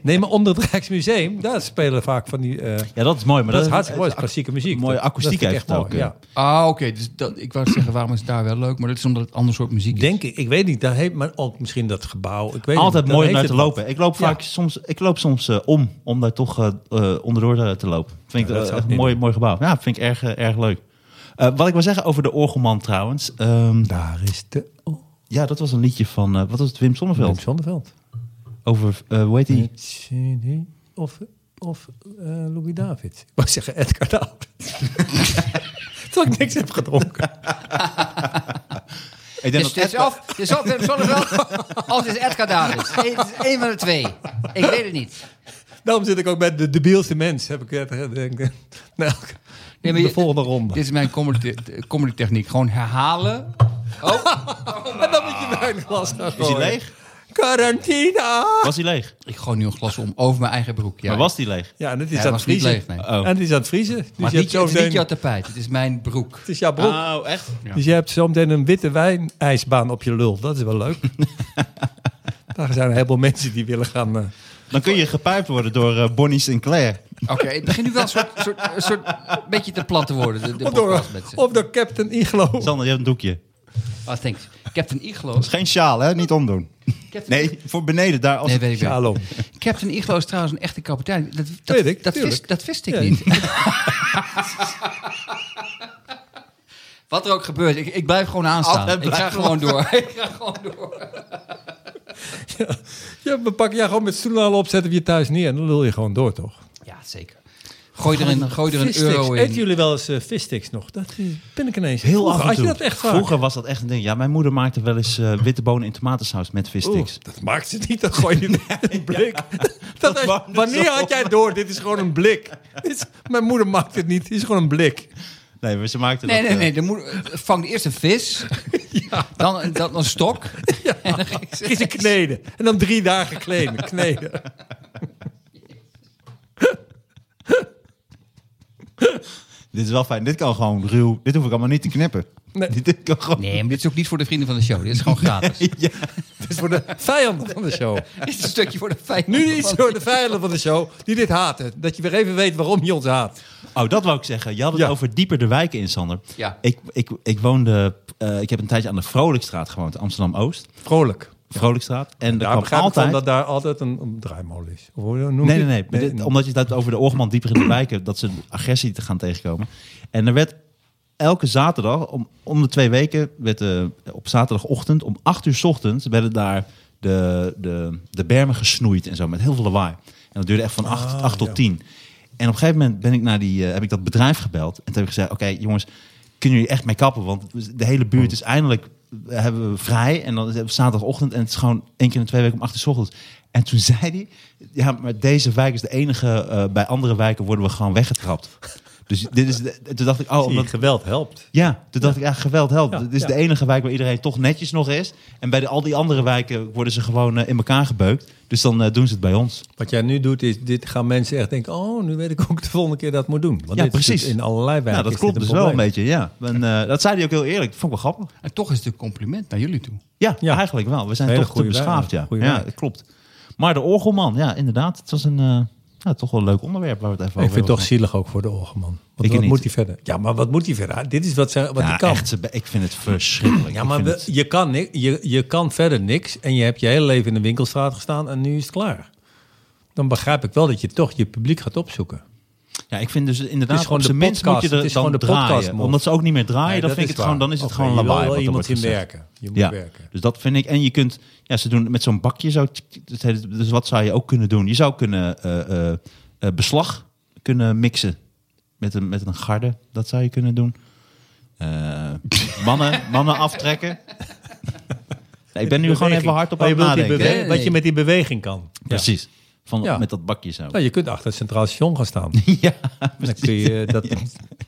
S3: Nee, maar onder het Rijksmuseum, daar spelen vaak van die... eh,
S2: Ja, dat is mooi. Maar
S3: dat is
S2: dat-
S3: hartstikke mooi,
S2: dat-
S3: klassieke muziek.
S2: mooie
S3: Dat- dat
S2: akoestiek
S3: vind ik
S2: heeft
S3: echt
S2: het
S3: mooi,
S2: ook,
S3: ja.
S4: Ah, oké. Dus dat, ik wou zeggen, waarom is het daar wel leuk? Maar dat is omdat het een ander soort muziek is.
S3: Denk ik, ik weet niet, daar heeft, maar ook misschien dat gebouw. Ik weet het
S2: Altijd
S3: niet, daar
S2: mooi om
S3: heeft
S2: naar te
S3: het
S2: lopen. Ik loop
S3: Ja.
S2: vaak soms, ik loop soms eh, om, om daar toch eh, eh, onderdoor eh, te lopen. Vind ik
S3: dat
S2: eh, echt
S3: zou ik
S2: een
S3: niet
S2: mooi, mooi gebouw. Ja, vind ik erg, eh, erg leuk. Eh, wat ik wil zeggen over de orgelman trouwens. ehm,
S3: wat. Daar is de... Oh,
S2: ja, dat was een liedje van, eh, wat was het, Wim Sonneveld?
S3: Wim Sonneveld.
S2: Over, eh hoe heet die?
S3: Met CD Of, of eh, Louis David. Ik wou zeggen Edgar de Oude. Terwijl ik niks heb gedronken.
S2: Ik denk
S4: Dus het
S2: dat
S4: is of, het is of Wim Sonneveld of het is Edgar Davids. Eén- Het is één van de twee. Ik weet het niet.
S3: Daarom zit ik ook bij de debielste mens. Heb ik het gedacht. Nou,
S4: Nee, maar
S3: de
S4: je-
S3: volgende ronde.
S4: Dit is mijn comedy, comedy techniek. Gewoon herhalen.
S3: En dan moet je mijn glas gaan
S2: Is hij
S3: gooien.
S2: leeg?
S3: Quarantina!
S2: Was hij leeg?
S4: Ik gooi nu een glas om over mijn eigen broek. Ja.
S2: Maar was die leeg?
S3: Ja, en het is
S4: Ja,
S3: aan het
S4: was niet
S3: vriezen.
S4: leeg, nee.
S2: Oh.
S3: En het is aan het vriezen. Dus
S4: Maar
S3: je
S4: het
S3: hebt
S4: niet,
S3: zo
S4: het is niet
S3: meteen...
S4: jouw Ah.
S3: Het
S4: tapijt. Het is mijn broek.
S3: is jouw broek.
S2: Oh, echt?
S3: Dus je hebt zo meteen een witte wijnijsbaan op je lul. Dat is wel leuk. Daar zijn een heleboel mensen die willen gaan... eh,
S2: Dan kun je gepijpt worden door eh, Bonnie Sinclair.
S4: Oké, het begint nu wel een soort, soort, een soort beetje te plat te worden. De, de
S3: of, door,
S4: podcast met ze.
S3: of door Captain Iglo.
S2: Sander, je hebt een doekje.
S4: Oh, thanks. Captain Iglo.
S2: Dat is geen sjaal, hè? Niet omdoen.
S4: Captain-
S2: Nee, voor beneden. Daar als...
S4: Nee, weet ik niet.
S3: Shalom.
S4: Captain Iglo is trouwens een echte kapitein. Dat, dat,
S3: Weet ik,
S4: dat,
S3: tuurlijk.
S4: wist, dat wist ik
S3: Ja.
S4: niet. Wat er ook gebeurt, ik, ik blijf gewoon aanstaan.
S2: Altijd
S4: Ik ga
S2: blijven.
S4: gewoon door. Ik ga gewoon door.
S3: Ja, we pakken jou gewoon met stoelen al opzetten we je thuis neer. En dan lul je gewoon door, toch?
S4: Ja, zeker. Gooi er een, gooi er een
S3: Vissticks.
S4: euro
S3: Eten
S4: in.
S3: jullie wel eens eh vissticks nog? Dat eh, ben ik ineens.
S2: Heel
S3: Vroeger
S2: af en
S3: had
S2: toe.
S3: je dat echt vaak?
S2: Vroeger was dat echt een ding. Ja, mijn moeder maakte wel eens eh, witte bonen in tomatensaus met
S3: Oeh,
S2: vissticks.
S3: dat maakt ze niet, dat gooi je in een blik. Dat is-
S2: wou ik dus
S3: wanneer
S2: al.
S3: had jij door? Dit is gewoon een blik. Dit is- mijn moeder maakt het niet, dit is gewoon een blik.
S2: Nee, maar ze maakte
S4: Nee,
S2: dat...
S4: nee,
S2: eh,
S4: nee. Dan moet, vang eerst een vis. Dan, dan een stok. En dan ging ze-
S3: Is een kneden. En dan drie dagen kleden. kneden.
S2: Dit is wel fijn. Dit kan gewoon ruw. Dit hoef ik allemaal niet te knippen.
S3: Nee.
S2: Dit, dit kan gewoon...
S4: Nee, maar dit is ook niet voor de vrienden van de show. Dit is gewoon gratis.
S2: Ja.
S3: Het is voor de vijanden van de show.
S4: Dit is een stukje voor de fijn.
S3: Nu niet voor de vijanden van de show die dit haten. Dat je weer even weet waarom je ons haat.
S2: Oh, dat wou ik zeggen. Je had het
S3: Ja.
S2: over dieper de wijken in, Sander.
S4: Ja.
S2: Ik, ik, ik woonde... eh, ik heb een tijdje aan de Vrolijkstraat gewoond, Amsterdam-Oost.
S3: Vrolijk.
S2: Vrolijkstraat. En daar
S3: Daar
S2: kwam
S3: begrijp ik
S2: altijd...
S3: van dat daar altijd een, een draaimolen is. Of hoe noem je
S2: Nee, nee,
S3: het?
S2: nee. Maar dit- Omdat je het had over de Orgeman dieper in de wijken, dat ze een agressie te gaan tegenkomen. En er werd elke zaterdag, om, om de twee weken, werd, eh, op zaterdagochtend om acht uur 's ochtends, werden daar de, de, de bermen gesnoeid en zo, met heel veel lawaai. En dat duurde echt van acht, acht tot tien. En op een gegeven moment ben ik naar die, eh, heb ik dat bedrijf gebeld. En toen heb ik gezegd, oké jongens, kunnen jullie echt mee kappen? Want de hele buurt is eindelijk eh, hebben we vrij. En dan is het zaterdagochtend. En het is gewoon één keer in de twee weken om acht uur 's ochtends. En toen zei hij, ja, maar deze wijk is de enige. eh, bij andere wijken worden we gewoon weggetrapt. Dus dit is de- toen dacht ik, oh,
S3: Zie je,
S2: omdat,
S3: geweld helpt.
S2: ja, toen dacht ik, ja, geweld helpt.
S3: Ja,
S2: Dit is
S3: ja.
S2: de enige wijk waar iedereen toch netjes nog is. En bij de, al die andere wijken worden ze gewoon eh, in elkaar gebeukt. Dus dan eh, doen ze het bij ons.
S3: Wat jij nu doet, is dit gaan mensen echt denken... oh, nu weet ik ook de volgende keer dat ik moet doen. Want
S2: Ja,
S3: dit is
S2: precies.
S3: dit in allerlei wijken
S2: Ja,
S3: is
S2: dat
S3: dit
S2: klopt
S3: een
S2: dus wel een
S3: probleem.
S2: beetje, ja. En, eh, dat zei hij ook heel eerlijk. Dat vond ik wel grappig.
S4: En toch is het een compliment naar jullie toe.
S2: Ja,
S3: Ja.
S2: eigenlijk wel. We zijn
S3: Hele
S2: toch te
S3: goede wijk,
S2: beschaafd, ja.
S3: goede
S2: ja,
S3: wijk.
S2: dat klopt. Maar de orgelman, ja, inderdaad. Het was een, eh, ja, toch wel een leuk onderwerp waar we het even
S3: Ik
S2: over
S3: vind het toch
S2: hebben
S3: zielig ook voor de Orgeman. Want
S2: Ik
S3: wat
S2: niet.
S3: moet hij verder? Ja, maar wat moet hij verder? Dit is wat, ze, wat
S2: gehad.
S3: hij
S2: ja,
S3: kan.
S2: echt, ze be- ik vind het verschrikkelijk.
S3: Ja,
S2: Ik
S3: maar
S2: vind
S3: we-
S2: het-
S3: je, kan ni- je, je kan verder niks. En je hebt je hele leven in de winkelstraat gestaan en nu is het klaar. Dan begrijp ik wel dat je toch je publiek gaat opzoeken.
S2: ja, ik vind dus inderdaad,
S3: gewoon
S2: op
S3: de
S2: zijn minst
S3: podcast.
S2: moet je er
S3: Het is
S2: dan
S3: gewoon de
S2: draaien.
S3: podcastmol.
S2: Omdat ze ook niet meer draaien,
S3: Nee,
S2: dan,
S3: dat
S2: vind
S3: is
S2: ik het gewoon,
S3: waar.
S2: dan is het
S3: Oké,
S2: gewoon
S3: je wil
S2: lawaai.
S3: wel
S2: wat er
S3: iemand
S2: wordt
S3: in
S2: gezegd.
S3: werken. Je moet
S2: Ja,
S3: werken.
S2: dus dat vind ik. En je kunt, ja, ze doen met zo'n bakje zo. tsk, tsk, dat heet- Dus wat zou je ook kunnen doen? Je zou kunnen eh, eh, eh, beslag kunnen mixen met een, met een garde. Dat zou je kunnen doen. Eh, mannen, mannen aftrekken. Nee, ik ben nu gewoon
S3: Beweging.
S2: even hard op
S3: Oh,
S2: aan
S3: je
S2: het
S3: wilt die
S2: nadenken.
S3: bewe-
S4: Nee, nee.
S3: Wat je met die beweging kan. Ja.
S2: Precies. Van,
S3: Ja.
S2: Met dat bakje zo.
S3: Nou, je kunt achter het Centraal Station gaan staan.
S2: Ja,
S3: Dan kun je dat,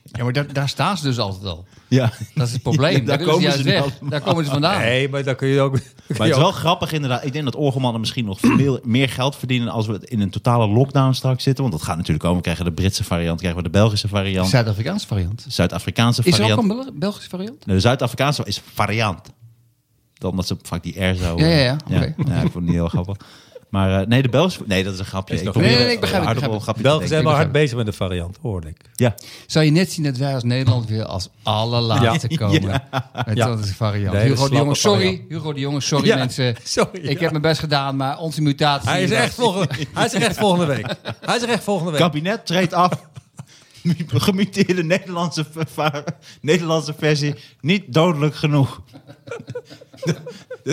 S4: Ja, maar daar, daar staan ze dus altijd al.
S2: ja.
S4: Dat is het probleem.
S2: Ja, daar
S4: daar, willen
S2: komen
S4: ze
S2: ze nu
S4: juist weg.
S2: allemaal.
S4: Daar komen ze vandaan.
S3: nee, maar dan kun je ook... dan kun
S2: Maar
S3: je
S2: het is wel
S3: ook-
S2: grappig inderdaad. Ik denk dat orgelmannen misschien nog veel meer geld verdienen als we in een totale lockdown straks zitten. Want dat gaat natuurlijk komen. We krijgen de Britse variant, krijgen we de Belgische variant,
S4: Zuid-Afrikaanse variant.
S2: de Zuid-Afrikaanse
S4: Is er
S2: variant.
S4: ook een Bel- Belgische variant?
S2: Nee, de Zuid-Afrikaanse is variant. Dan omdat ze vaak die R zo...
S4: Ja, ja, ja.
S2: Ja,
S4: Oké.
S2: ja, ik vond het niet heel grappig. Maar eh, nee, de Belgische... Nee, dat is een grapje.
S3: Is nog-
S2: probeer
S4: Nee, nee,
S2: een
S4: ik begrijp het, ik
S2: aardappel grapje te
S3: Belgen zijn
S2: denken.
S3: wel hard bezig met de variant, hoorde ik.
S2: Ja,
S4: Zou je net zien dat wij als Nederland weer als allerlaatste
S2: Ja.
S4: komen? Met
S3: Ja.
S4: dat is een variant.
S3: De hele
S4: Hugo de
S3: slappe
S4: Jonge, sorry.
S3: variant.
S4: Hugo de Jonge, sorry
S3: Ja,
S4: mensen.
S3: sorry,
S4: ik
S3: ja.
S4: heb mijn best gedaan, maar onze mutatie...
S3: Hij is,
S4: dat-
S3: echt volgende, hij is er echt volgende week. Hij is er echt volgende week.
S2: kabinet treedt af. Gemuteerde Nederlandse, verva- Nederlandse versie. Niet dodelijk genoeg.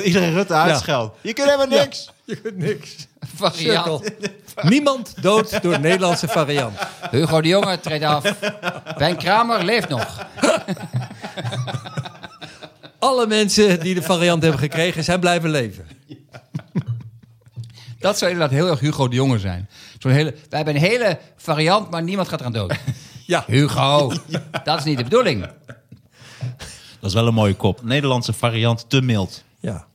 S2: Iedereen Rutte uitscheldt. Je kunt helemaal niks.
S3: Je kunt niks.
S4: Variant.
S3: Cirkel. Niemand dood door de Nederlandse variant.
S4: Hugo de Jonge treedt af. Ben Kramer leeft nog.
S3: Alle mensen die de variant hebben gekregen, zijn blijven leven.
S4: Dat zou inderdaad heel erg Hugo de Jonge zijn. Zo'n hele, wij hebben een hele variant, maar niemand gaat eraan dood.
S3: Ja.
S4: Hugo, dat is niet de bedoeling.
S2: Dat is wel een mooie kop. Nederlandse variant te mild.
S3: ja.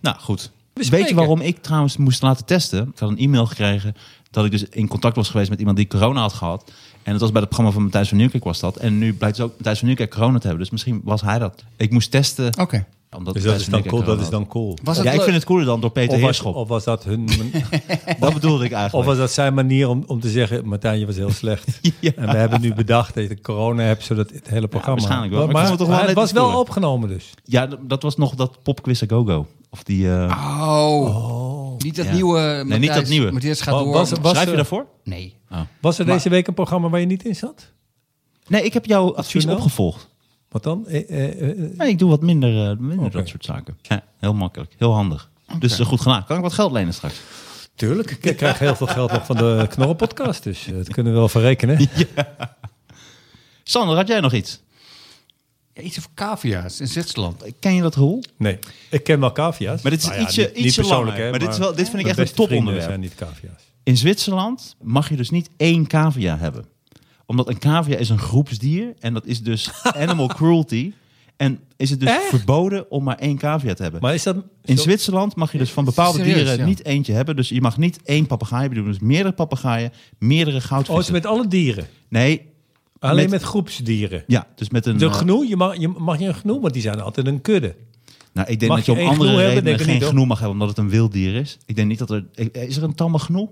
S2: Nou, goed. Weet
S3: spreken.
S2: je waarom ik trouwens moest laten testen? Ik had een e-mail gekregen dat ik dus in contact was geweest met iemand die corona had gehad. En dat was bij het programma van Matthijs van Nieuwkerk was dat. En nu blijkt dus ook Matthijs van Nieuwkerk corona te hebben. Dus misschien was hij dat. Ik moest testen.
S4: Oké.
S2: Omdat
S3: Dus dat
S2: Matthijs
S3: is
S2: van
S3: dan
S2: Nieuwkerk
S3: cool. Dat
S2: corona
S3: is dan cool.
S2: had.
S4: Was het
S2: Ja, ik
S4: leuk?
S2: vind het cooler dan door Peter
S3: Of was,
S2: Heerschop.
S3: of was dat hun,
S2: Dat bedoelde ik
S3: of
S2: eigenlijk.
S3: was dat zijn manier om, om te zeggen, Martijn, je was heel slecht.
S2: Ja.
S3: En we hebben nu bedacht dat je corona hebt, zodat het hele programma...
S2: waarschijnlijk wel, maar
S3: Maar,
S2: ik vond het toch wel
S3: maar
S2: net
S3: het was wel
S2: cooler.
S3: opgenomen dus.
S2: Ja, d- dat was nog dat popquiz Go Go. Of die, eh,
S4: Ah, Oh. Niet dat
S2: Ja.
S4: nieuwe.
S2: niet
S4: Matthijs-
S2: dat nieuwe.
S4: Matthäus gaat
S3: Oh,
S4: door.
S3: was- was-
S2: schrijf je
S3: eh,
S2: daarvoor?
S4: nee.
S3: Was er deze week een programma waar je niet in zat?
S2: Nee, ik heb jouw advies
S3: journaal?
S2: opgevolgd.
S3: Wat dan? Eh, eh, eh,
S2: Nee, ik doe wat minder, eh, minder
S3: Oké.
S2: dat soort zaken. Ja, heel makkelijk, heel handig. Dus eh, goed gedaan. Kan ik wat geld lenen straks?
S3: Tuurlijk. Ik krijg heel veel geld nog van de Knorrenpodcast, dus eh, dat kunnen we wel verrekenen.
S2: Sander, had jij nog iets?
S4: Ja, iets over cavia's in Zwitserland.
S2: Ken je dat rol?
S3: Nee, ik ken wel cavia's.
S2: Maar dit is
S3: Nou
S2: ietsje-
S3: niet- niet
S2: ietsje
S3: persoonlijk,
S2: langer.
S3: hè,
S2: Maar dit is wel- dit vind ik
S3: mijn
S2: echt een
S3: beste vrienden
S2: toponderwerp.
S3: zijn niet cavia's.
S2: In Zwitserland mag je dus niet één cavia hebben. Omdat een cavia is een groepsdier en dat is dus animal cruelty. En is het dus verboden om maar één cavia te hebben.
S3: Maar is dat...
S2: in
S3: zo-
S2: Zwitserland mag je dus van bepaalde
S4: Serieus,
S2: dieren
S4: ja.
S2: niet eentje hebben. Dus je mag niet één papegaai hebben, dus meerdere papegaaien, meerdere
S3: Oh, het is
S2: goudvissen.
S3: met alle dieren.
S2: Nee,
S3: Alleen met,
S2: Met-
S3: groepsdieren.
S2: ja, dus met een...
S3: De
S2: eh,
S3: gnoe, je mag, je, mag je een gnoe, want die zijn altijd een kudde.
S2: nou, ik denk
S3: mag
S2: dat je
S3: je
S2: om
S3: één
S2: andere
S3: gnoe hebben?
S2: redenen
S3: Denk ik
S2: geen
S3: niet, hoor.
S2: genoe mag hebben, omdat het een wild dier is. Ik denk niet dat er... Is er een tamme Nou, genoe?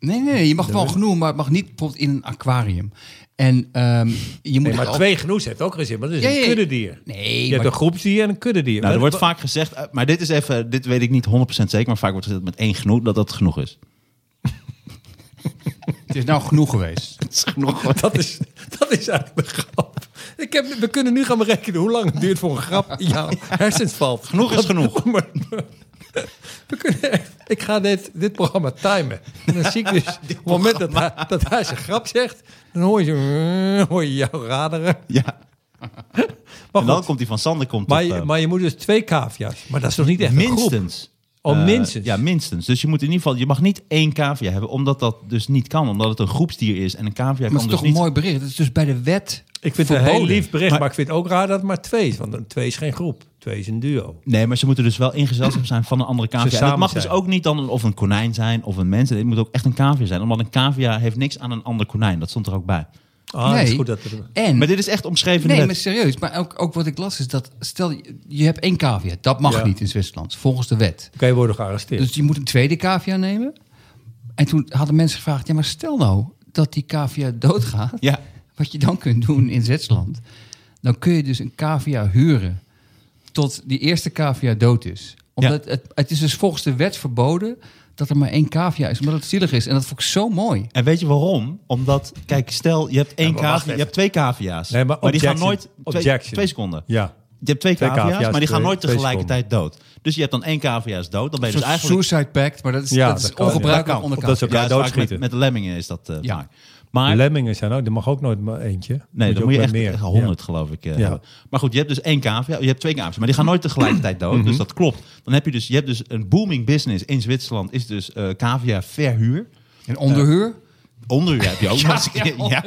S4: Nee, nee, nee, je mag wel genoeg, maar het mag niet bijvoorbeeld in een aquarium. En ehm, je moet
S3: Nee,
S4: er
S3: maar
S4: al-
S3: twee gnoes heeft ook geen zin, maar dat is
S4: Ja, ja,
S3: een
S4: ja.
S3: kuddedier.
S4: Nee,
S3: Je hebt
S4: maar-
S3: een groepsdier en een kuddedier.
S2: Nou, er
S3: Maar-
S2: wordt vaak gezegd, eh, maar dit is even, dit weet ik niet 100% zeker, maar vaak wordt gezegd met één genoeg dat dat genoeg is.
S4: het is nou genoeg geweest.
S2: Het is genoeg.
S3: Dat is, dat is eigenlijk de grap. Ik heb, we kunnen nu gaan berekenen hoe lang het duurt voor een grap in jouw hersens valt.
S2: Genoeg is genoeg.
S3: Maar- we kunnen echt- ik ga dit, dit programma timen. En dan zie ik dus, op het moment dat hij, dat hij zijn grap zegt, dan hoor je, zo- eh, hoor je jou raderen.
S2: Ja.
S3: Maar,
S2: En dan
S3: goed,
S2: komt die van Sander komt
S3: maar,
S2: op,
S3: je,
S2: eh,
S3: maar je moet dus twee cavia's. Maar dat is toch niet echt een groep?
S2: minstens.
S3: Oh,
S2: Eh,
S3: minstens.
S2: ja, minstens. Dus je moet in ieder geval, je mag niet één cavia hebben, omdat dat dus niet kan, omdat het een groepsdier is en een cavia
S4: Maar
S2: kan
S4: het
S2: dus
S4: is toch
S2: niet.
S4: een mooi bericht. Het is dus bij de wet
S3: Ik vind het een
S4: verboden.
S3: heel lief bericht, maar,
S2: Maar-
S3: ik vind het ook raar dat het maar twee is. Want een twee is geen groep, twee is een duo.
S2: Nee, maar ze moeten dus wel in gezelschap zijn van een andere cavia. En dat
S3: samen
S2: mag
S3: zijn.
S2: dus ook niet dan een- of een konijn zijn of een mens. Het moet ook echt een cavia zijn, omdat een cavia heeft niks aan een ander konijn. Dat stond er ook bij.
S3: Ah,
S4: nee.
S3: dat is goed dat we-
S4: En,
S2: Maar dit is echt omschreven. in de
S4: nee,
S2: wet.
S4: maar serieus. Maar ook, ook wat ik las is dat, stel je- je hebt één cavia. Dat mag
S3: Ja.
S4: niet in Zwitserland, volgens de wet.
S3: Oké, worden gearresteerd.
S4: Dus je moet een tweede cavia nemen. En toen hadden mensen gevraagd, ja maar stel nou dat die cavia doodgaat.
S2: Ja.
S4: Wat je dan kunt doen in Zwitserland. Dan kun je dus een cavia huren tot die eerste cavia dood is. Omdat het, het is dus volgens de wet verboden dat er maar één cavia is. Omdat het zielig is. En dat vond ik zo mooi.
S2: En weet je waarom? Omdat, kijk, stel je hebt één
S3: maar wacht
S2: cavia, je
S3: even.
S2: hebt twee cavia's.
S3: Nee, maar
S2: die gaan
S3: objection.
S2: nooit twee,
S3: Objection.
S2: twee seconden.
S3: ja.
S2: Je hebt twee,
S3: Twee
S2: cavia's,
S3: cavia's,
S2: maar die gaan
S3: twee-
S2: nooit
S3: twee
S2: tegelijkertijd dood. Dus je hebt dan één cavia is dood. Dan ben je
S4: Een
S2: dus
S4: soort
S2: eigenlijk...
S4: suicide pact, maar dat is,
S3: Ja,
S4: dat is
S3: dat kan,
S4: ongebruikelijk
S2: ja.
S4: onder
S3: Of dat ze
S4: cavia.
S3: elkaar
S2: Ja, dat is vaak
S3: doodschieten.
S2: Met, met de lemmingen is dat eh,
S4: Ja.
S2: vaak. Maar
S3: Lemmingen zijn ook, er mag ook nooit maar eentje.
S2: nee, dan moet je
S3: ook
S2: echt,
S3: met
S2: meer. 100 geloof ik eh,
S3: Ja.
S2: hebben. Maar goed, je hebt dus één cavia, je hebt twee cavia's, maar die gaan nooit tegelijkertijd
S3: Mhm.
S2: dood. Dus dat klopt. Dan heb je dus, je hebt dus een booming business in Zwitserland is dus eh cavia verhuur.
S4: En onderhuur?
S2: Onderhuur heb je ook nog eens een keer. Ja.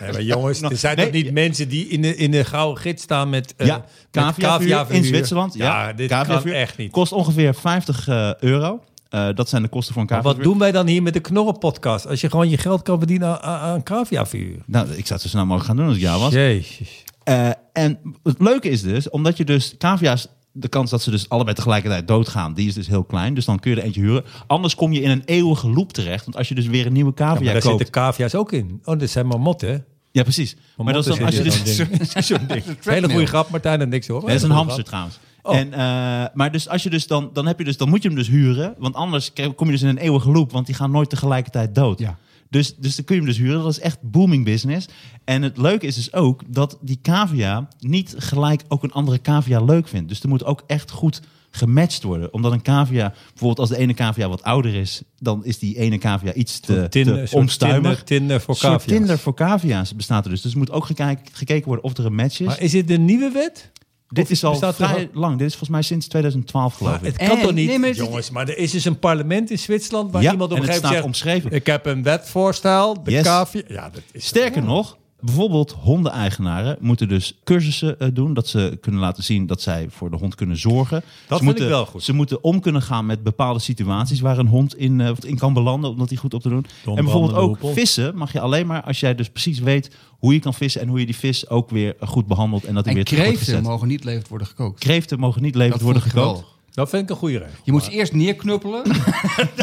S3: Nee, maar jongens, er zijn
S2: Nee,
S3: toch niet mensen die in de, in de gouden gids staan met, eh
S2: Ja,
S3: met
S2: caviavuur in
S3: caviaverhuur?
S2: Zwitserland. Ja,
S3: Ja, dit
S2: caviavuur.
S3: kan echt niet.
S2: Kost ongeveer 50 eh, euro. Eh, dat zijn de kosten voor een
S3: Maar wat
S2: caviavuur.
S3: doen wij dan hier met de Knorren-podcast? Als je gewoon je geld kan verdienen aan, aan- aan caviaverhuur.
S2: Nou, ik zou het zo snel mogelijk gaan doen als het jou was.
S3: Jezus.
S2: Eh, en het leuke is dus, omdat je dus cavia's... De kans dat ze dus allebei tegelijkertijd doodgaan, die is dus heel klein. Dus dan kun je er eentje huren. Anders kom je in een eeuwige loop terecht. Want als je dus weer een nieuwe
S3: Ja, maar
S2: cavia
S3: daar
S2: koopt...
S3: zitten cavia's ook in. Oh, dat zijn marmotten, hè?
S2: Ja, precies. Maar dat is dan,
S3: Marmotten
S2: als je dus...
S3: zitten in zo'n ding. Zo'n ding. Hele goede grap, Martijn en niks hoor.
S2: Nee, dat is
S3: Hele
S2: een
S3: goede
S2: hamster
S3: grap.
S2: trouwens.
S3: Oh.
S2: En, eh, maar dus als je dus dan, dan heb je dus, dan moet je hem dus huren. Want anders k- kom je dus in een eeuwige loop, want die gaan nooit tegelijkertijd dood.
S4: Ja.
S2: Dus, dus dan kun je hem dus huren. Dat is echt booming business. En het leuke is dus ook dat die cavia niet gelijk ook een andere cavia leuk vindt. Dus er moet ook echt goed gematcht worden. Omdat een cavia, bijvoorbeeld als de ene cavia wat ouder is, dan is die ene cavia iets te,
S3: Een Tinder,
S2: te
S3: een soort
S2: onstuimig.
S3: Tinder, Tinder voor
S2: Een soort
S3: cavia's.
S2: Tinder voor cavia's bestaat er dus. Dus er moet ook gekeken, gekeken worden of er een match is.
S3: Maar is dit de nieuwe wet?
S2: Dit
S3: Of
S2: is al
S3: bestaat er
S2: vrij
S3: ook-
S2: lang. Dit is volgens mij sinds 2012 geloof ik.
S3: Het kan
S4: En-
S3: toch niet,
S4: nee, maar het is-
S3: jongens. Maar er is dus een parlement in Zwitserland waar
S2: Ja,
S3: iemand op
S2: en
S3: een
S2: het
S3: gegeven moment
S2: staat
S3: zegt,
S2: omschreven.
S3: Ik heb een wetvoorstel, de
S2: Yes.
S3: cavia. Ja, dat is
S2: Sterker nog, bijvoorbeeld hondeneigenaren moeten dus cursussen eh, doen. Dat ze kunnen laten zien dat zij voor de hond kunnen zorgen. ze
S3: vind ik
S2: moeten,
S3: wel goed.
S2: Ze moeten om kunnen gaan met bepaalde situaties waar een hond in, eh, in kan belanden. Omdat die goed op te doen. en bijvoorbeeld
S3: brandende
S2: ook
S3: hoepel.
S2: vissen mag je alleen maar als jij dus precies weet hoe je kan vissen. En hoe je die vis ook weer goed behandelt. En dat hij
S4: En
S2: weer terug wordt
S4: kreeften
S2: gezet.
S4: mogen niet levend worden gekookt.
S2: Kreeften mogen niet levend
S4: Dat
S2: worden
S4: vond ik
S2: gekookt.
S4: geweldig.
S3: Dat vind ik een goede
S2: Eh,
S3: regel.
S4: Je moet ze eerst neerknuppelen.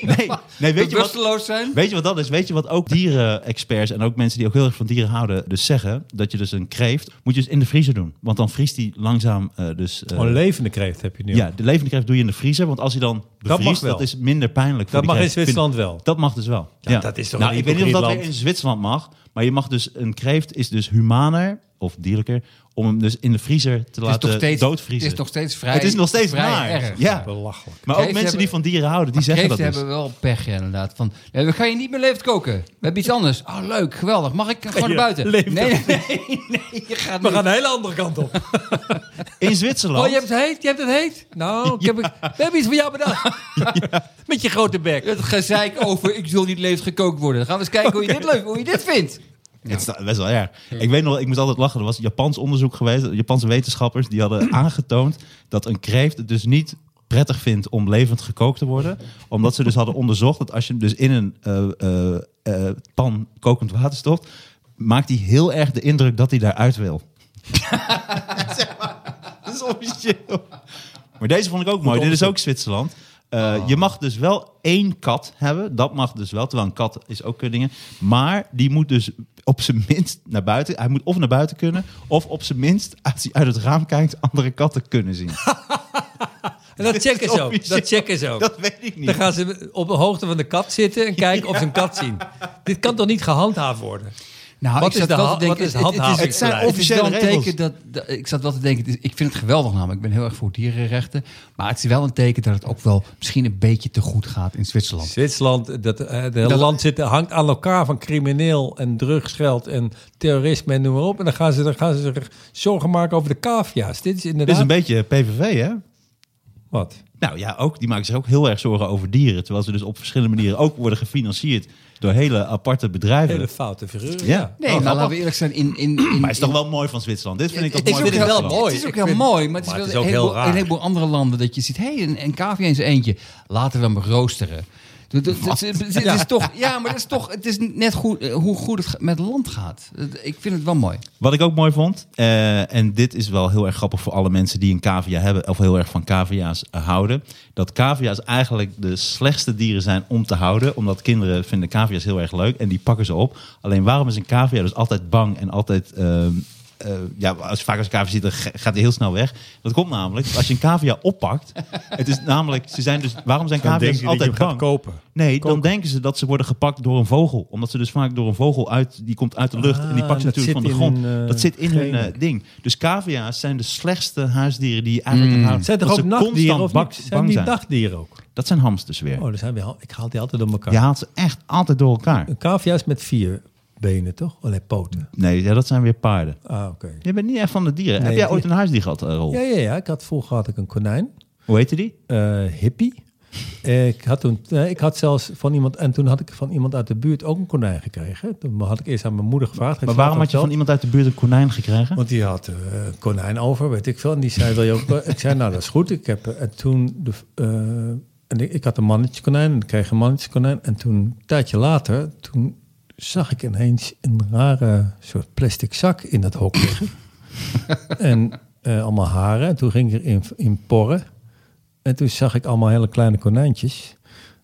S2: Nee, nee, weet je wat?
S4: Bewusteloos zijn.
S2: Weet je wat dat is? Weet je wat ook dieren-experts en ook mensen die ook heel erg van dieren houden, dus zeggen? Dat je dus een kreeft moet je dus in de vriezer doen. Want dan vriest die langzaam eh, dus. eh,
S3: Gewoon een levende kreeft heb je nu.
S2: ja, de levende kreeft doe je in de vriezer. Want als hij dan
S3: mag
S2: bevriest,
S3: wel.
S2: dat, is minder pijnlijk. Voor
S3: Dat
S2: die
S3: mag in
S2: kreeft.
S3: Zwitserland wel.
S2: Dat mag dus wel. Ja,
S3: dat is toch
S2: nou,
S3: een
S2: ik weet niet of dat
S3: hypocriet
S2: weer in
S3: land.
S2: Zwitserland mag. Maar je mag dus, een kreeft is dus humaner of dierlijker om hem dus in de vriezer te
S4: Het is,
S2: laten
S4: toch steeds, het
S2: doodvriezen.
S4: is nog steeds vrij
S2: Het is nog steeds
S4: vrij
S2: naar.
S4: erg.
S2: Ja.
S3: Belachelijk.
S2: Maar ook
S4: Kreeften
S2: mensen die van dieren houden, die zeggen dat
S4: Kreeften
S2: dus.
S4: hebben wel pech, ja, inderdaad. Van, eh, we gaan je niet meer levend koken. We hebben iets anders. Oh, leuk, geweldig. Mag ik gewoon naar
S2: je
S4: buiten? Nee,
S2: levend
S4: nee, nee, nee, je gaat
S3: We
S4: niet.
S3: gaan een hele andere kant op.
S2: In
S3: Oh,
S2: Zwitserland.
S3: je hebt het heet? Je hebt het heet? Nou, ik heb, we hebben iets voor jou bedacht. Met je grote bek.
S4: Het gezeik over ik wil niet levend gekookt worden. Dan gaan we eens kijken hoe je dit leuk, hoe je dit vindt.
S2: Het is best wel erg. Ik weet nog, wel, ik moest altijd lachen. Er was Japans onderzoek geweest. Japanse wetenschappers die hadden aangetoond dat een kreeft het dus niet prettig vindt om levend gekookt te worden. Omdat ze dus hadden onderzocht dat als je hem dus in een eh, eh, eh, pan kokend water stopt, maakt hij heel erg de indruk dat hij daaruit wil. zeg maar, dat is officieel. Maar deze vond ik ook mooi. Dit is ook Zwitserland. Eh, Je mag dus wel één kat hebben. Dat mag dus wel. Terwijl een kat is ook eh, dingen. Maar die moet dus op zijn minst naar buiten. Hij moet of naar buiten kunnen. Of op zijn minst, als hij uit het raam kijkt, andere katten kunnen zien.
S3: En dat
S2: Dit is
S3: checken ze ook.
S2: officieel.
S3: Dat checken ze ook.
S2: Dat weet ik
S3: Dan
S2: niet.
S3: gaan ze op de hoogte van de kat zitten en kijken of ze een kat zien. Dit kan toch niet gehandhaafd worden?
S4: Nou,
S3: Wat
S4: ik
S3: is
S4: zat
S3: de
S4: wel
S3: ha-
S4: te denken,
S3: wat is
S4: het-
S3: handhaving?
S4: Het,
S3: Het zijn
S4: het is wel
S2: officiële
S4: een
S2: regels.
S4: teken dat, dat- ik zat wel te denken, het is- ik vind het geweldig namelijk. Ik ben heel erg voor dierenrechten. Maar het is wel een teken dat het ook wel misschien een beetje te goed gaat in Zwitserland.
S3: Zwitserland, dat, eh, het hele
S4: Dat-
S3: land zit, hangt aan elkaar van crimineel en drugsgeld en terrorisme en noem maar op. En dan gaan ze, dan gaan ze zich zorgen maken over de cavia's. Dit is
S2: Dit
S3: inderdaad...
S2: is een beetje PVV, hè?
S3: Wat?
S2: Nou ja, ook, die maken zich ook heel erg zorgen over dieren. Terwijl ze dus op verschillende manieren ook worden gefinancierd door hele aparte bedrijven.
S3: Hele foute figuur.
S2: Ja.
S4: Nee,
S2: Oh,
S4: maar laten we
S2: grappig.
S4: eerlijk zijn, in, in, in,
S2: Maar het is toch wel mooi van Zwitserland. Dit vind ik toch
S4: Ik
S2: mooi
S4: vind
S2: van
S4: het wel
S2: Zwitserland.
S4: mooi. Het is ook heel mooi, maar het
S3: maar
S4: is, wel
S3: het is ook
S4: een
S3: heel
S4: heleboel-
S3: raar.
S4: een heleboel andere landen dat je ziet, hé, hey, een, een cavia in zijn eentje. Laten we hem roosteren. Dat- dat- dat- Het is- het is toch, ja, maar het is toch, het is net goed, eh, hoe goed het ge- met land gaat. Dat- Ik vind het wel mooi.
S2: Wat ik ook mooi vond, eh, en dit is wel heel erg grappig voor alle mensen die een cavia hebben of heel erg van cavia's eh, houden, dat cavia's eigenlijk de slechtste dieren zijn om te houden, omdat kinderen vinden cavia's heel erg leuk en die pakken ze op. Alleen waarom is een cavia dus altijd bang en altijd, ehm, eh, ja, als vaak als een cavia ziet, dan ga- gaat hij heel snel weg. Dat komt namelijk, als je een cavia oppakt, het is namelijk, ze zijn dus, waarom zijn
S3: denk je
S2: cavia's
S3: dat je
S2: altijd
S3: hem gaat
S2: bang?
S3: kopen.
S2: Nee,
S3: Koken.
S2: dan denken ze dat ze worden gepakt door een vogel. Omdat ze dus vaak door een vogel uit... Die komt uit de lucht en die
S3: Ah,
S2: pakt ze
S3: dat
S2: natuurlijk van
S3: zit
S2: de
S3: in
S2: grond.
S3: hun, eh,
S2: dat zit in hun
S3: genen.
S2: eh, ding. Dus cavia's zijn de slechtste huisdieren die je eigenlijk kan houden.
S3: Hmm. Zijn er
S2: omdat
S3: ook
S2: ze
S3: nachtdieren of
S2: constant bak-
S3: niet? Zijn die dagdieren ook?
S2: Dat zijn hamsters weer.
S3: Oh, er zijn wel. Ik haal die altijd door elkaar.
S2: Je haalt ze echt altijd door elkaar.
S3: Een cavia is met vier benen, toch? Alleen poten.
S2: Nee, ja, dat zijn weer paarden.
S3: Ah, oké.
S2: Je bent niet echt van de dieren.
S3: Nee,
S2: Heb jij
S3: die-
S2: ooit een huisdier gehad, eh, Rolf?
S3: Ja, ja, ja. Ik had, vroeger had ik een konijn.
S2: Hoe heette die?
S3: eh, hippie. Eh, ik, had toen, nee, ik had zelfs van iemand... En toen had ik van iemand uit de buurt ook een konijn gekregen. Toen had ik eerst aan mijn moeder gevraagd. heeft
S2: Maar
S3: ze
S2: waarom had
S3: later
S2: je van iemand
S3: verteld.
S2: uit de buurt een konijn gekregen?
S3: Want die had eh, een konijn over, weet ik veel. En die zei, wil je ook... ik zei, nou, dat is goed. Ik heb, eh, en toen... De, eh, en ik, ik had een mannetje konijn en ik kreeg een mannetje konijn. En toen, een tijdje later, toen zag ik ineens een rare soort plastic zak in dat hok liggen. en eh, allemaal haren. En toen ging ik erin in porren. En toen zag ik allemaal hele kleine konijntjes.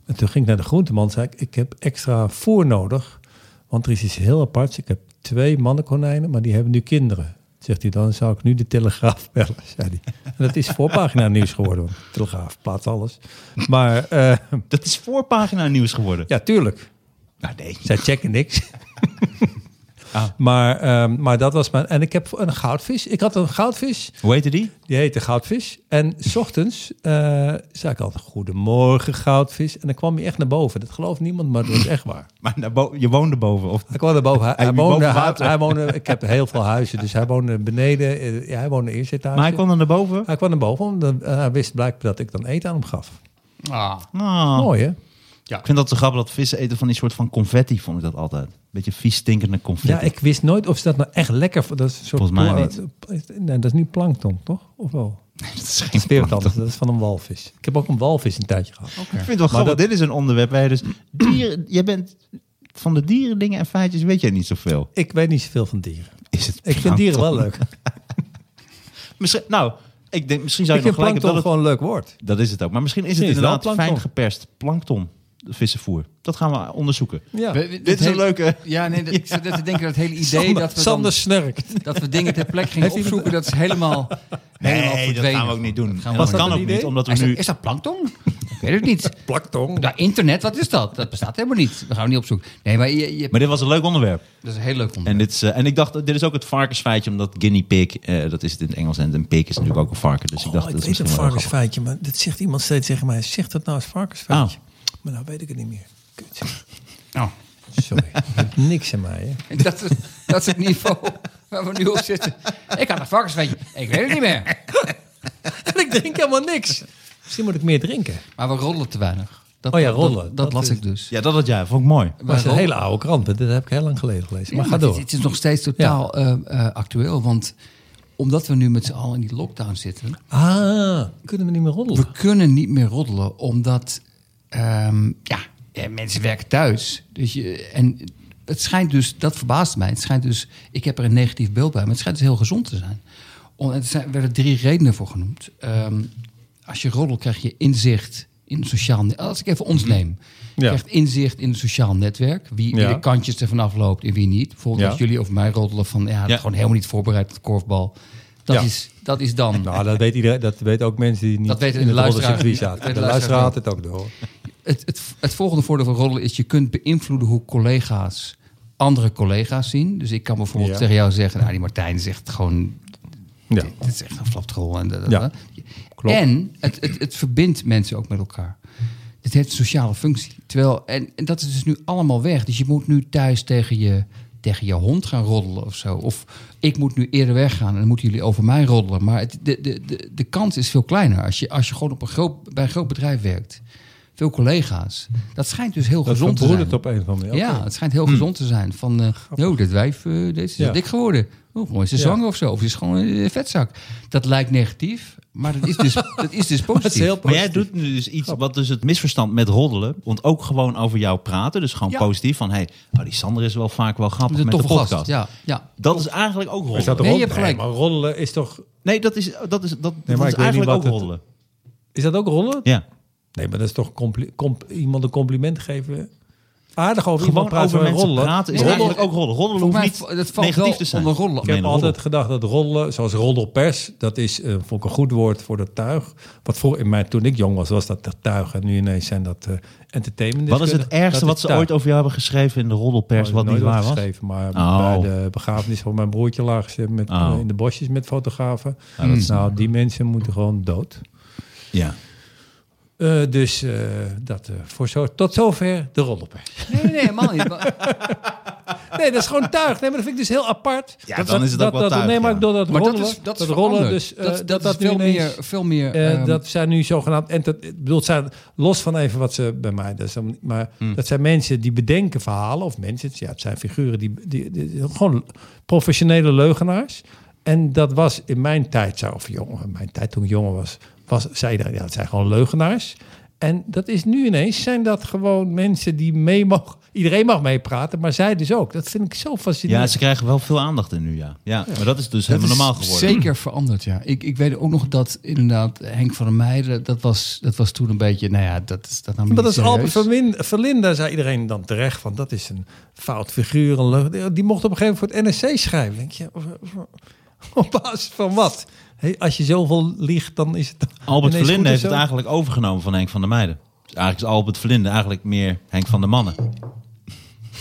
S3: En toen ging ik naar de groenteman en zei ik, ik heb extra voer nodig. Want er is iets heel aparts. Ik heb twee mannenkonijnen, maar die hebben nu kinderen. Zegt hij, dan zou ik nu de Telegraaf bellen, zei hij. En dat is voorpagina nieuws geworden. Want de Telegraaf plaatst alles. Maar eh,
S2: Dat is voorpagina nieuws geworden.
S3: ja, tuurlijk.
S2: Nou, nee.
S3: Zij checken niks. Maar, ehm, maar dat was mijn... En ik heb een goudvis. Ik had een goudvis.
S2: Hoe heette die?
S3: Die heette Goudvis. En 's ochtends eh, zei ik altijd: Goedemorgen, Goudvis. En dan kwam hij echt naar boven. Dat gelooft niemand, maar dat is echt waar.
S2: Maar naar bo- je woonde boven. Of...
S3: Hij kwam naar boven. Hij,
S2: Hij
S3: hij
S2: liep
S3: woonde,
S2: boven
S3: hij,
S2: water.
S3: hij woonde. Ik heb heel veel huizen, dus hij woonde beneden. eh, Ja, hij woonde eerst etage.
S2: Maar hij kwam er naar boven.
S3: Hij kwam naar boven, omdat eh, hij wist blijkbaar dat ik dan eten aan hem gaf.
S4: Ah,
S2: Ah.
S3: Mooi, hè?
S2: Ik vind dat zo grappig dat vissen eten van die soort van confetti, vond ik dat altijd. Beetje vies stinkende confetti.
S3: Ja, ik wist nooit of ze dat nou echt lekker... v- Dat is een soort
S2: Volgens mij
S3: pla- Nee, dat is niet plankton, toch? Of wel?
S2: dat is geen
S3: Dat is weer wat
S2: plankton. Oh.
S3: anders. Dat is van een walvis. Ik heb ook een walvis een tijdje gehad.
S2: Ik vind het wel grappig. Dit is een onderwerp waar je dus dieren, je bent van de dieren dingen en feitjes weet jij niet zoveel.
S3: Ik weet niet zoveel van dieren.
S2: Is het
S3: Ik vind dieren wel
S2: plankton?
S3: leuk.
S2: Misschien, nou, ik denk misschien zou
S3: ik
S2: je nog
S3: vind
S2: gelijk
S3: plankton
S2: hebben dat
S3: gewoon een leuk woord.
S2: het, dat is het ook. Maar misschien is het
S3: Misschien is het wel
S2: inderdaad fijn
S3: plankton.
S2: geperst plankton vissenvoer. Dat gaan we onderzoeken.
S3: Ja.
S4: We- we- dat
S2: Dit is een
S4: hele-
S2: leuke.
S4: Ja, nee, dat, ik zat net te denken dat het hele idee
S3: Sander,
S4: dat, we dan-
S3: Sander snurkt.
S4: dat we dingen ter plekke gingen opzoeken, dat is helemaal, helemaal
S2: Nee, dat
S4: verdwenen.
S2: gaan we ook niet doen.
S4: gaan
S2: En
S4: we
S2: dat
S4: ook
S2: kan
S3: niet
S2: ook
S3: doen.
S2: niet, omdat we
S4: Hij zegt,
S2: nu
S4: Is dat plankton? weet het niet.
S3: Plaktong.
S4: Nou, internet, wat is dat? Dat bestaat helemaal niet. We gaan we niet op zoek. Nee, maar je, je,
S2: Maar dit was een leuk onderwerp.
S4: dat is een heel leuk onderwerp.
S2: En, dit is, eh, en ik dacht, dit is ook het varkensfeitje, omdat guinea pig, eh, dat is het in het Engels, en een pig is natuurlijk ook een varken. Dus ik dacht,
S3: Oh,
S2: dat
S3: ik
S2: is
S3: weet een
S2: misschien wel heel grappig.
S3: varkensfeitje, maar dat zegt iemand steeds tegen mij. Zeg dat nou eens varkensfeitje. Maar nou weet ik het niet meer. Kut.
S4: Oh.
S3: Sorry. Je hebt niks in mij, hè?
S4: Dat, is- dat is het niveau waar we nu op zitten. Ik had een varkensfeitje. Ik weet het niet meer.
S3: En ik drink helemaal niks. Misschien moet ik meer drinken.
S4: Maar we rollen te weinig. Dat,
S3: Oh ja,
S4: dat-
S3: rollen.
S4: Dat,
S3: Dat
S4: dat las
S3: is-
S4: ik dus.
S2: Ja, dat had jij. Vond ik mooi.
S3: Dat was een
S4: rollen.
S3: hele oude krant, hè? dat heb ik heel lang geleden gelezen. Maar
S4: Ja,
S3: ga
S4: maar het-
S3: door.
S4: Het, is nog steeds totaal eh, eh, actueel. Want omdat we nu met z'n allen in die lockdown zitten...
S3: Ah, kunnen we niet meer roddelen.
S4: We kunnen niet meer roddelen, omdat ehm, ja, eh, mensen werken thuis. Dus je, en het schijnt dus, dat verbaast mij. Het schijnt dus, ik heb er een negatief beeld bij, maar het schijnt dus heel gezond te zijn. Om, er zijn, werden drie redenen voor genoemd. Ehm, als je roddelt, krijg je inzicht in het sociaal net- Als ik even ons neem, je
S3: Mhm. Ja.
S4: krijgt inzicht in het sociaal netwerk. Wie, wie
S3: Ja.
S4: de kantjes ervan afloopt en wie niet. Bijvoorbeeld
S3: Ja.
S4: als jullie over mij roddelen van ja,
S2: Ja.
S4: gewoon helemaal niet voorbereid op korfbal. Dat,
S3: Ja.
S4: is, dat is dan.
S3: Nou, dat weet iedereen. Dat weten ook mensen die niet
S4: Dat weten
S3: in
S4: de
S3: het
S4: luisteraar-
S3: roddelscircuit
S4: dat
S3: zaten.
S4: weten
S3: De
S4: de
S3: luisteraar had het
S4: luisteraar
S3: ook door.
S4: Het, het, het volgende voordeel van roddelen is... je kunt beïnvloeden hoe collega's andere collega's zien. Dus ik kan bijvoorbeeld
S3: Ja.
S4: tegen jou zeggen... nou, die Martijn zegt gewoon...
S3: Ja.
S4: dit is echt een flaptrol. En, dat- dat-
S3: Ja,
S4: dat.
S3: klopt.
S4: en het, het, het verbindt mensen ook met elkaar. Dit heeft een sociale functie. Terwijl, en, en dat is dus nu allemaal weg. Dus je moet nu thuis tegen je, tegen je hond gaan roddelen of zo. Of ik moet nu eerder weggaan en dan moeten jullie over mij roddelen. Maar het, de, de, de, de kans is veel kleiner als je, als je gewoon op een groot, bij een groot bedrijf werkt. Veel collega's. Dat schijnt dus heel
S3: Dat
S4: gezond te
S3: verbroedert
S4: zijn.
S3: op een of andere manier.
S4: Ja, het schijnt heel gezond te zijn. Van, eh yo, dit wijf, eh, deze is
S3: Ja.
S4: dik geworden. Oh, mooi, is ze
S3: Ja.
S4: zwanger of zo. Of ze is gewoon een vetzak. Dat lijkt negatief, maar dat is dus, dat is dus positief.
S3: Dat is heel
S2: Maar jij
S3: positief.
S2: doet nu dus iets wat dus het misverstand met roddelen, want ook gewoon over jou praten, dus gewoon
S4: Ja.
S2: positief van, hey, oh, die Sander is wel vaak wel grappig
S4: Een
S2: met de
S4: toffe
S2: podcast.
S4: gast. Ja, ja.
S2: Dat is eigenlijk ook
S3: Is dat
S2: roddelen.
S4: Nee,
S3: roddelen?
S4: je hebt gelijk.
S3: maar roddelen is toch...
S2: Nee, dat is, dat is, dat,
S3: maar
S2: dat is
S3: ik weet niet
S2: eigenlijk
S3: wat
S2: ook
S3: het-
S2: roddelen.
S3: Is dat ook roddelen?
S2: Ja.
S3: Nee, maar dat is toch compli- comp- iemand een compliment geven? Aardig over
S2: Gewoon
S3: iemand praten
S2: over
S3: maar
S2: mensen
S3: roddelen.
S2: praten is
S4: Nee,
S2: eigenlijk ook roddelen. Roddelen
S4: Volgens
S2: hoeft
S4: mij
S2: niet
S4: vo- dat valt
S2: negatief
S4: wel
S2: te zijn.
S4: onder roddelen.
S2: Ik
S3: Ik
S2: meen
S3: heb
S2: roddelen.
S3: altijd gedacht dat rollen, zoals roddelpers, dat is eh, vond ik een goed woord voor dat tuig. Wat voor, in mijn, toen ik jong was, was dat dat tuig. En nu ineens zijn dat eh entertainment.
S2: Wat is het ergste wat ze ooit over jou hebben geschreven in de roddelpers, wat niet waar was?
S3: Maar
S2: Oh.
S3: bij de begrafenis van mijn broertje lagen ze met,
S2: Oh.
S3: eh, in de bosjes met fotografen.
S2: Ja, dat is-
S3: nou, die mensen moeten gewoon dood.
S2: Ja.
S3: Eh, dus eh, dat, eh, voor zo, tot zover de roddelpers.
S4: Nee, nee, helemaal niet. Maar,
S3: Nee, dat is gewoon tuig. Nee, maar dat vind ik dus heel apart.
S2: Ja,
S3: dat,
S2: dan
S3: dat-
S2: is het ook
S3: dat,
S2: wel
S3: dat,
S2: tuig,
S3: Nee, maar
S2: ja.
S3: ook door dat
S4: maar
S3: rollen.
S4: dat is, dat is
S3: rollen
S4: veranderd.
S3: dus, eh,
S4: dat, dat, is
S3: nu
S4: veel
S3: ineens-
S4: meer, veel meer
S3: Eh,
S4: ehm,
S3: dat zijn nu zogenaamd. En dat, ik bedoel, het zijn los van even wat ze bij mij. Dat is dan niet- maar dat zijn mensen die bedenken verhalen. Of mensen, ja, het zijn figuren die, die, die- gewoon professionele leugenaars. En dat was in mijn tijd, zo, of jongen, in mijn tijd toen ik jonger was, was zei iedereen, ja, het zijn gewoon leugenaars. En dat is nu ineens, zijn dat gewoon mensen die mee mogen. Iedereen mag meepraten, maar zij dus ook. Dat vind ik zo
S2: ja,
S3: fascinerend.
S2: ze krijgen wel veel aandacht in nu, ja. Ja, maar dat is dus helemaal
S4: is
S2: normaal geworden.
S4: Zeker veranderd, ja. Ik, ik weet ook nog dat inderdaad Henk van der Meijden, dat was, dat was toen een beetje, nou ja, dat is dat nam je
S3: Maar dat
S4: niet
S3: is Albert
S4: serieus.
S3: Vermin- Verlinda, zei iedereen dan terecht. Van dat is een fout figuur. Een leugen. Die mocht op een gegeven moment voor het NSC schrijven. Denk je, op basis van wat? Hé, als je zoveel liegt, dan is het.
S2: Albert
S3: ineens goed
S2: Verlinde
S3: en
S2: heeft
S3: zo.
S2: het eigenlijk overgenomen van Henk van der Meijden. Dus eigenlijk is Albert Verlinde eigenlijk meer Henk van der Mannen.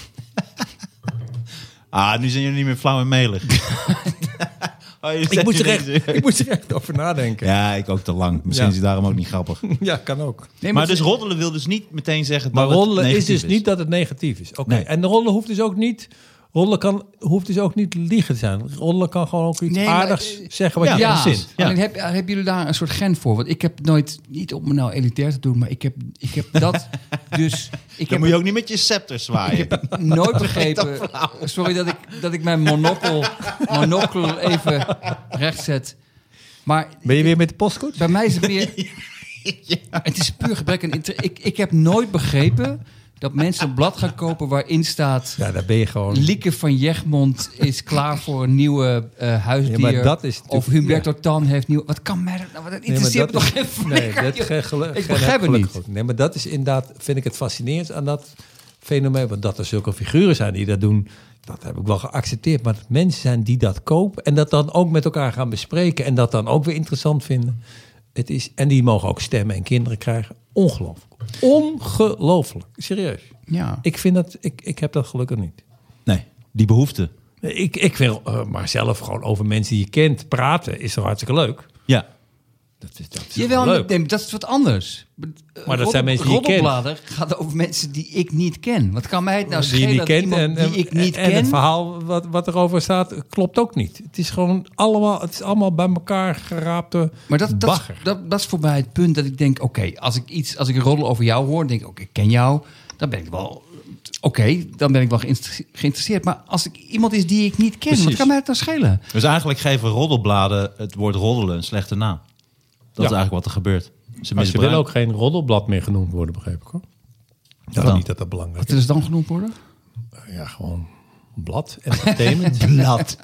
S2: ah, nu zijn jullie niet meer flauw en melig. Oh, jullie
S3: Ik
S2: zijn
S3: moest, er
S2: ineens-
S3: echt, ik moest er echt over nadenken. Ja,
S2: Ja, ik ook te lang. Misschien
S3: Ja.
S2: is het daarom ook niet grappig. Maar,
S3: kan ook.
S4: Nee, maar,
S2: dus roddelen wil dus niet meteen zeggen
S3: Maar
S2: dat het
S3: rollen is
S2: negatief
S3: dus niet dat het negatief is. Oké.
S2: Nee.
S3: En de rollen hoeft dus ook niet. Rollen kan, hoeft dus ook niet liegen te zijn. Rollen kan gewoon ook iets
S4: Nee, maar,
S3: aardigs
S4: eh,
S3: zeggen wat je
S4: ja,
S3: ja. verzint.
S2: Ja.
S4: Alleen heb, hebben jullie daar een soort gen voor? Want ik heb nooit, niet om me nou elitair te doen, maar ik heb, ik heb dat dus... Ik
S2: Dan
S4: heb
S2: moet je ook niet met je scepter zwaaien.
S4: nooit begrepen. Sorry dat ik, dat ik mijn monocle, monocle even recht zet. Maar
S3: Ben je weer met de postkoets?
S4: bij mij is het meer. Het is puur gebrek aan interesse. Ik, ik heb nooit begrepen dat mensen een blad gaan kopen waarin staat.
S3: Ja, daar ben je gewoon.
S4: Lieke van Egmond is klaar voor een nieuwe eh, huisdier.
S3: Ja, maar dat is
S4: of
S3: natuurlijk-
S4: Humberto Tan heeft nieuw. Wat kan mij dat nou? Wat interesseert
S3: maar
S4: me
S3: dat
S4: toch geen
S3: Nee,
S4: flikker,
S3: dat
S4: joh.
S3: geen gelu-
S4: Ik
S3: geen
S4: begrijp het niet.
S3: gelukkig. Nee, maar dat is inderdaad, vind ik het fascinerend aan dat fenomeen. Want dat er zulke figuren zijn die dat doen, dat heb ik wel geaccepteerd. Maar dat mensen zijn die dat kopen en dat dan ook met elkaar gaan bespreken. En dat dan ook weer interessant vinden. Het is, en die mogen ook stemmen en kinderen krijgen. Ongelooflijk. Ongelooflijk. Serieus.
S4: Ja.
S3: Ik vind dat, ik, ik heb dat gelukkig niet.
S2: Nee, die behoefte.
S3: Ik, ik wil eh, maar zelf gewoon over mensen die je kent praten, is toch hartstikke leuk?
S2: Ja.
S3: Dat is, dat is
S4: Jawel,
S3: leuk.
S4: nee, maar dat is wat anders. Maar
S3: dat zijn mensen die je kent.
S4: gaat over mensen die ik niet ken. Wat kan mij het nou
S3: die je
S4: schelen
S3: niet
S4: dat
S3: kent
S4: iemand
S3: en,
S4: die ik niet
S3: en, en
S4: ken...
S3: het verhaal wat, wat erover staat klopt ook niet. Het is gewoon allemaal, het is allemaal bij elkaar geraapte
S4: Maar dat, dat,
S3: bagger.
S4: dat, dat is voor mij het punt dat ik denk: oké, als ik iets, als ik een roddel over jou hoor, denk ik: oké, ik ken jou, dan ben ik wel. Oké, dan ben ik wel geïnter- geïnteresseerd. Maar als ik iemand is die ik niet ken, wat
S2: Precies.
S4: kan mij het dan schelen?
S2: Dus eigenlijk geven roddelbladen het woord roddelen een slechte naam. Dat is
S3: Ja.
S2: eigenlijk wat er gebeurt. Ze
S3: Maar ze
S2: misbruiken-
S3: willen ook geen roddelblad meer genoemd worden, begreep ik hoor. Dat
S2: dan?
S3: niet dat dat belangrijk
S4: Wat is het dan genoemd worden?
S3: is. Ja, gewoon blad, entertainment,
S2: Blad.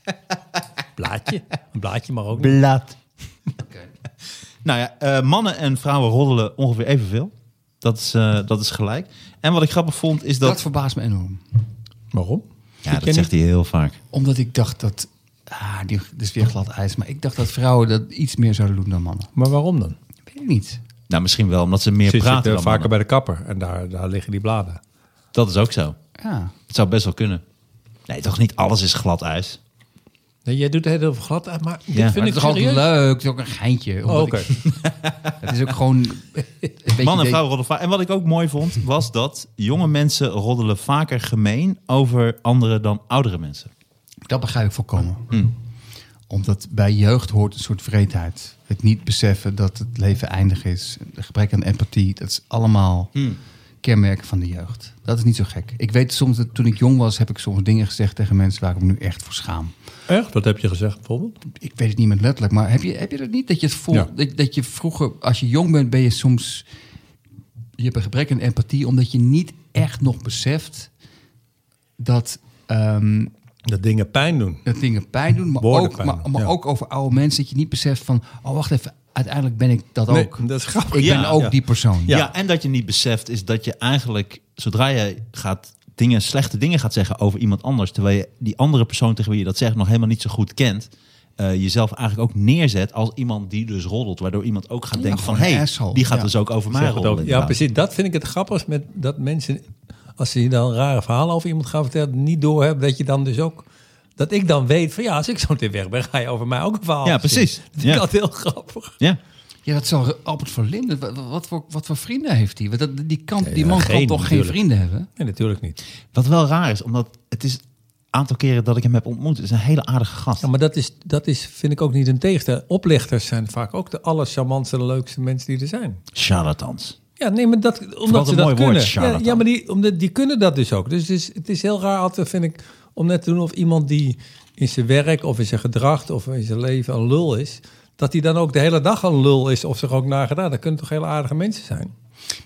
S3: blaadje. Een blaadje mag ook niet.
S2: Blad. Nou ja, eh, mannen en vrouwen roddelen ongeveer evenveel. Dat is, eh, dat is gelijk. En wat ik grappig vond is
S4: Dat,
S2: dat...
S4: verbaast me enorm.
S3: Waarom?
S2: ja,
S3: Ik ken
S2: dat zegt hij heel vaak.
S4: Omdat ik dacht dat. Ah, die, dit is weer glad ijs. Maar ik dacht dat vrouwen dat iets meer zouden doen dan mannen.
S3: niet- Maar waarom dan?
S4: Weet ik niet.
S2: Nou, misschien wel omdat ze meer
S3: Ze
S2: praten
S3: zitten
S2: dan
S3: vaker
S2: mannen.
S3: bij de kapper en daar, daar liggen die bladen.
S2: Dat is ook zo.
S4: Ja.
S2: Het zou best wel kunnen. Nee, toch niet alles is glad ijs.
S3: Nee, jij doet het heel veel glad aan, maar dit
S2: Ja.
S4: Maar
S3: vind
S4: het
S3: ik
S4: is ook
S3: serieus.
S4: leuk. Het is ook een geintje.
S3: Oh,
S4: omdat
S3: Oké.
S4: ik- Het is ook gewoon. een beetje
S2: Man en
S4: de-
S2: vrouw roddelen vaak. En wat ik ook mooi vond, was dat jonge mensen roddelen vaker gemeen over anderen dan oudere mensen.
S4: Dat begrijp ik volkomen. Omdat bij jeugd hoort een soort vreedheid. Het niet beseffen dat het leven eindig is. Het gebrek aan empathie. Dat is allemaal kenmerken van de jeugd. Dat is niet zo gek. Ik weet soms dat toen ik jong was, heb ik soms dingen gezegd tegen mensen waar ik me nu echt voor schaam.
S3: Echt? Wat heb je gezegd bijvoorbeeld?
S4: Ik weet het niet meer letterlijk, maar heb je, heb je dat niet? Dat je, het voelt,
S3: Ja.
S4: dat, dat je vroeger, als je jong bent, ben je soms... Je hebt een gebrek aan empathie, omdat je niet echt nog beseft dat... ehm,
S3: Dat dingen pijn doen.
S4: dat dingen pijn doen, maar,
S3: Woorden
S4: ook,
S3: pijn
S4: maar,
S3: doen,
S4: maar
S3: ja.
S4: ook over oude mensen. Dat je niet beseft van, oh wacht even, uiteindelijk ben ik dat ook.
S3: Nee, dat is grappig.
S4: Ik
S2: Ja,
S4: ben ook
S3: ja.
S4: die persoon.
S2: Ja.
S3: Ja.
S2: en dat je niet beseft is dat je eigenlijk, zodra je gaat dingen, slechte dingen gaat zeggen over iemand anders, terwijl je die andere persoon tegen wie je dat zegt nog helemaal niet zo goed kent, eh, jezelf eigenlijk ook neerzet als iemand die dus roddelt, waardoor iemand ook gaat denken van,
S4: gewoon een
S2: hey,
S4: asshole."
S2: die gaat
S4: Ja.
S2: dus ook over mij
S3: Zeg het
S2: roddelen.
S3: ook. Ja,
S2: inderdaad.
S3: precies. Dat vind ik het grappigst met dat mensen, als ze je dan rare verhalen over iemand gaan vertellen, niet doorhebben dat je dan dus ook, dat ik dan weet van ja, als ik zo meteen weg ben, ga je over mij ook een verhaal.
S2: Ja,
S3: verzinnen.
S2: precies.
S3: Dat vind
S2: Ja.
S3: ik altijd heel grappig.
S2: Ja.
S4: Ja, dat zal Albert van Linden. Wat, wat, voor, wat voor vrienden heeft hij? Want dat, die, kan, die
S3: ja,
S4: man kan
S3: geen,
S4: toch geen
S3: natuurlijk.
S4: vrienden hebben?
S3: Nee, natuurlijk niet.
S2: Wat wel raar is, omdat het is aantal keren dat ik hem heb ontmoet, is een hele aardige gast.
S3: Ja, maar dat is, dat is, vind ik ook niet een tegenstelling. Oplichters zijn vaak ook de allercharmantste, de leukste mensen die er zijn.
S2: Charlatans.
S3: Ja, nee, maar dat, omdat
S2: wat
S3: ze
S2: een
S3: dat
S2: mooi woord,
S3: kunnen. ja,
S2: charlatan.
S3: ja, maar die, omdat, die kunnen dat dus ook. Dus het is, het is heel raar altijd, vind ik, om net te doen of iemand die in zijn werk of in zijn gedrag of in zijn leven een lul is, dat hij dan ook de hele dag een lul is of zich ook nagedaan. Dat kunnen toch hele aardige mensen zijn?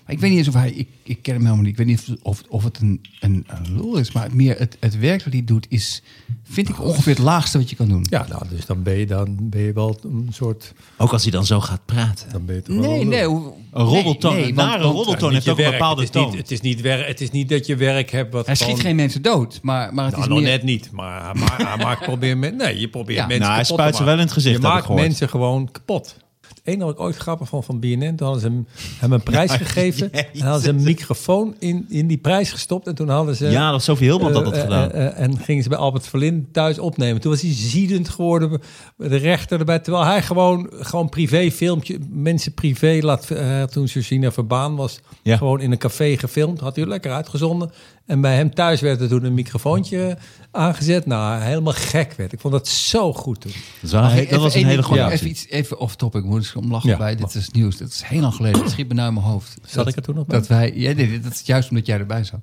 S4: Maar ik weet niet eens of hij, ik, ik ken hem helemaal niet. Ik weet niet of, of het een, een, een lul is. Maar het, meer het, het werk dat hij doet is, vind ik ongeveer het laagste wat je kan doen.
S3: Ja, nou, dus dan ben je, dan ben je wel een soort...
S2: Ook als hij dan zo gaat praten.
S3: Dan ben je toch wel
S4: Nee,
S3: een lul.
S4: nee. hoe-
S2: Een roddeltoon, een nare roddeltoon
S3: Niet
S2: heeft
S3: je
S2: ook een
S3: werk.
S2: bepaalde
S3: het is,
S2: toon.
S3: niet, het, is niet werk, het is niet dat je werk hebt wat
S4: Hij schiet
S3: gewoon-
S4: geen mensen dood, maar, maar het
S3: Nou,
S4: is
S3: nog
S4: meer...
S3: net niet, maar hij ma- hij maakt probeer men- nee, je probeert
S4: Ja.
S3: mensen
S2: Nou, hij
S3: kapot
S2: spuit
S3: te
S2: ze
S3: maken.
S2: wel in het gezicht,
S3: Je
S2: heb ik
S3: maakt
S2: gehoord.
S3: mensen gewoon kapot. Het enige wat ik ooit grappig vond van BNN, toen hadden ze hem, hem een prijs gegeven en hadden ze een microfoon in, in die prijs gestopt en toen hadden ze...
S2: Ja, dat Sophie Hilband had dat
S3: eh, eh,
S2: gedaan.
S3: eh, eh, en gingen ze bij Albert Verlin thuis opnemen. Toen was hij ziedend geworden, de rechter erbij. Terwijl hij gewoon, gewoon privé filmpje, mensen privé laat. eh, toen Georgina Verbaan was,
S2: Ja.
S3: gewoon in een café gefilmd. Had hij lekker uitgezonden. En bij hem thuis werd er toen een microfoontje eh, aangezet. Nou, hij helemaal gek werd. Ik vond dat zo goed toen.
S2: Dat, was een-
S4: Mag ik
S2: dat was een
S4: even één
S2: hele
S4: ding-
S2: goede
S4: ja,
S2: actie.
S4: Even, iets, even off topic, moet ik om lachen
S3: Ja,
S4: bij. Dit
S3: mag.
S4: is nieuws. Dat is heel lang geleden. Het schiet me nou in mijn hoofd.
S3: Zat ik er toen nog bij?
S4: Dat wij, ja, nee, dat is juist omdat jij erbij zat.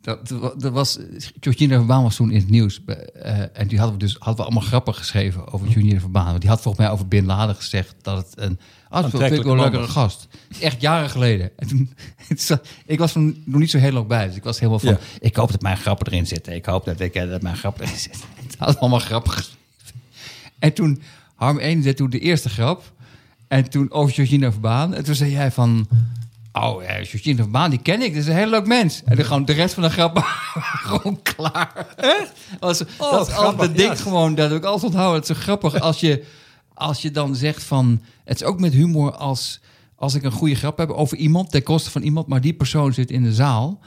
S4: Dat, dat was, Georgina Verbaan was toen in het nieuws. eh, en die hadden we dus hadden we allemaal grappen geschreven over Georgina Verbaan. Want die had volgens mij over Bin Laden gezegd dat het een
S3: Aantrekkelijke
S4: aantrekkelijk
S3: man
S4: leukere gast. Echt jaren geleden. En toen, het zat- ik was toen nog niet zo heel lang bij. Dus ik was helemaal van,
S3: Ja.
S4: ik hoop dat mijn grappen erin zitten. Ik hoop dat, ik, eh, dat mijn grappen erin zitten. Het had allemaal grappen geschreven. En toen, Harm 1 deed toen de eerste grap. En toen over Georgina Verbaan. En toen zei jij van... Oh, eh, Georgina Verbaan, die ken ik. Dat is een heel leuk mens. En dan gewoon de rest van de grap gewoon klaar. Echt? Was, dat is
S3: Oh, grappig,
S4: altijd het ding
S3: ja.
S4: gewoon. Dat heb ik altijd onthouden. Het is zo grappig als je, als je dan zegt van... Het is ook met humor als... als ik een goede grap heb over iemand, ten koste van iemand, maar die persoon zit in de zaal,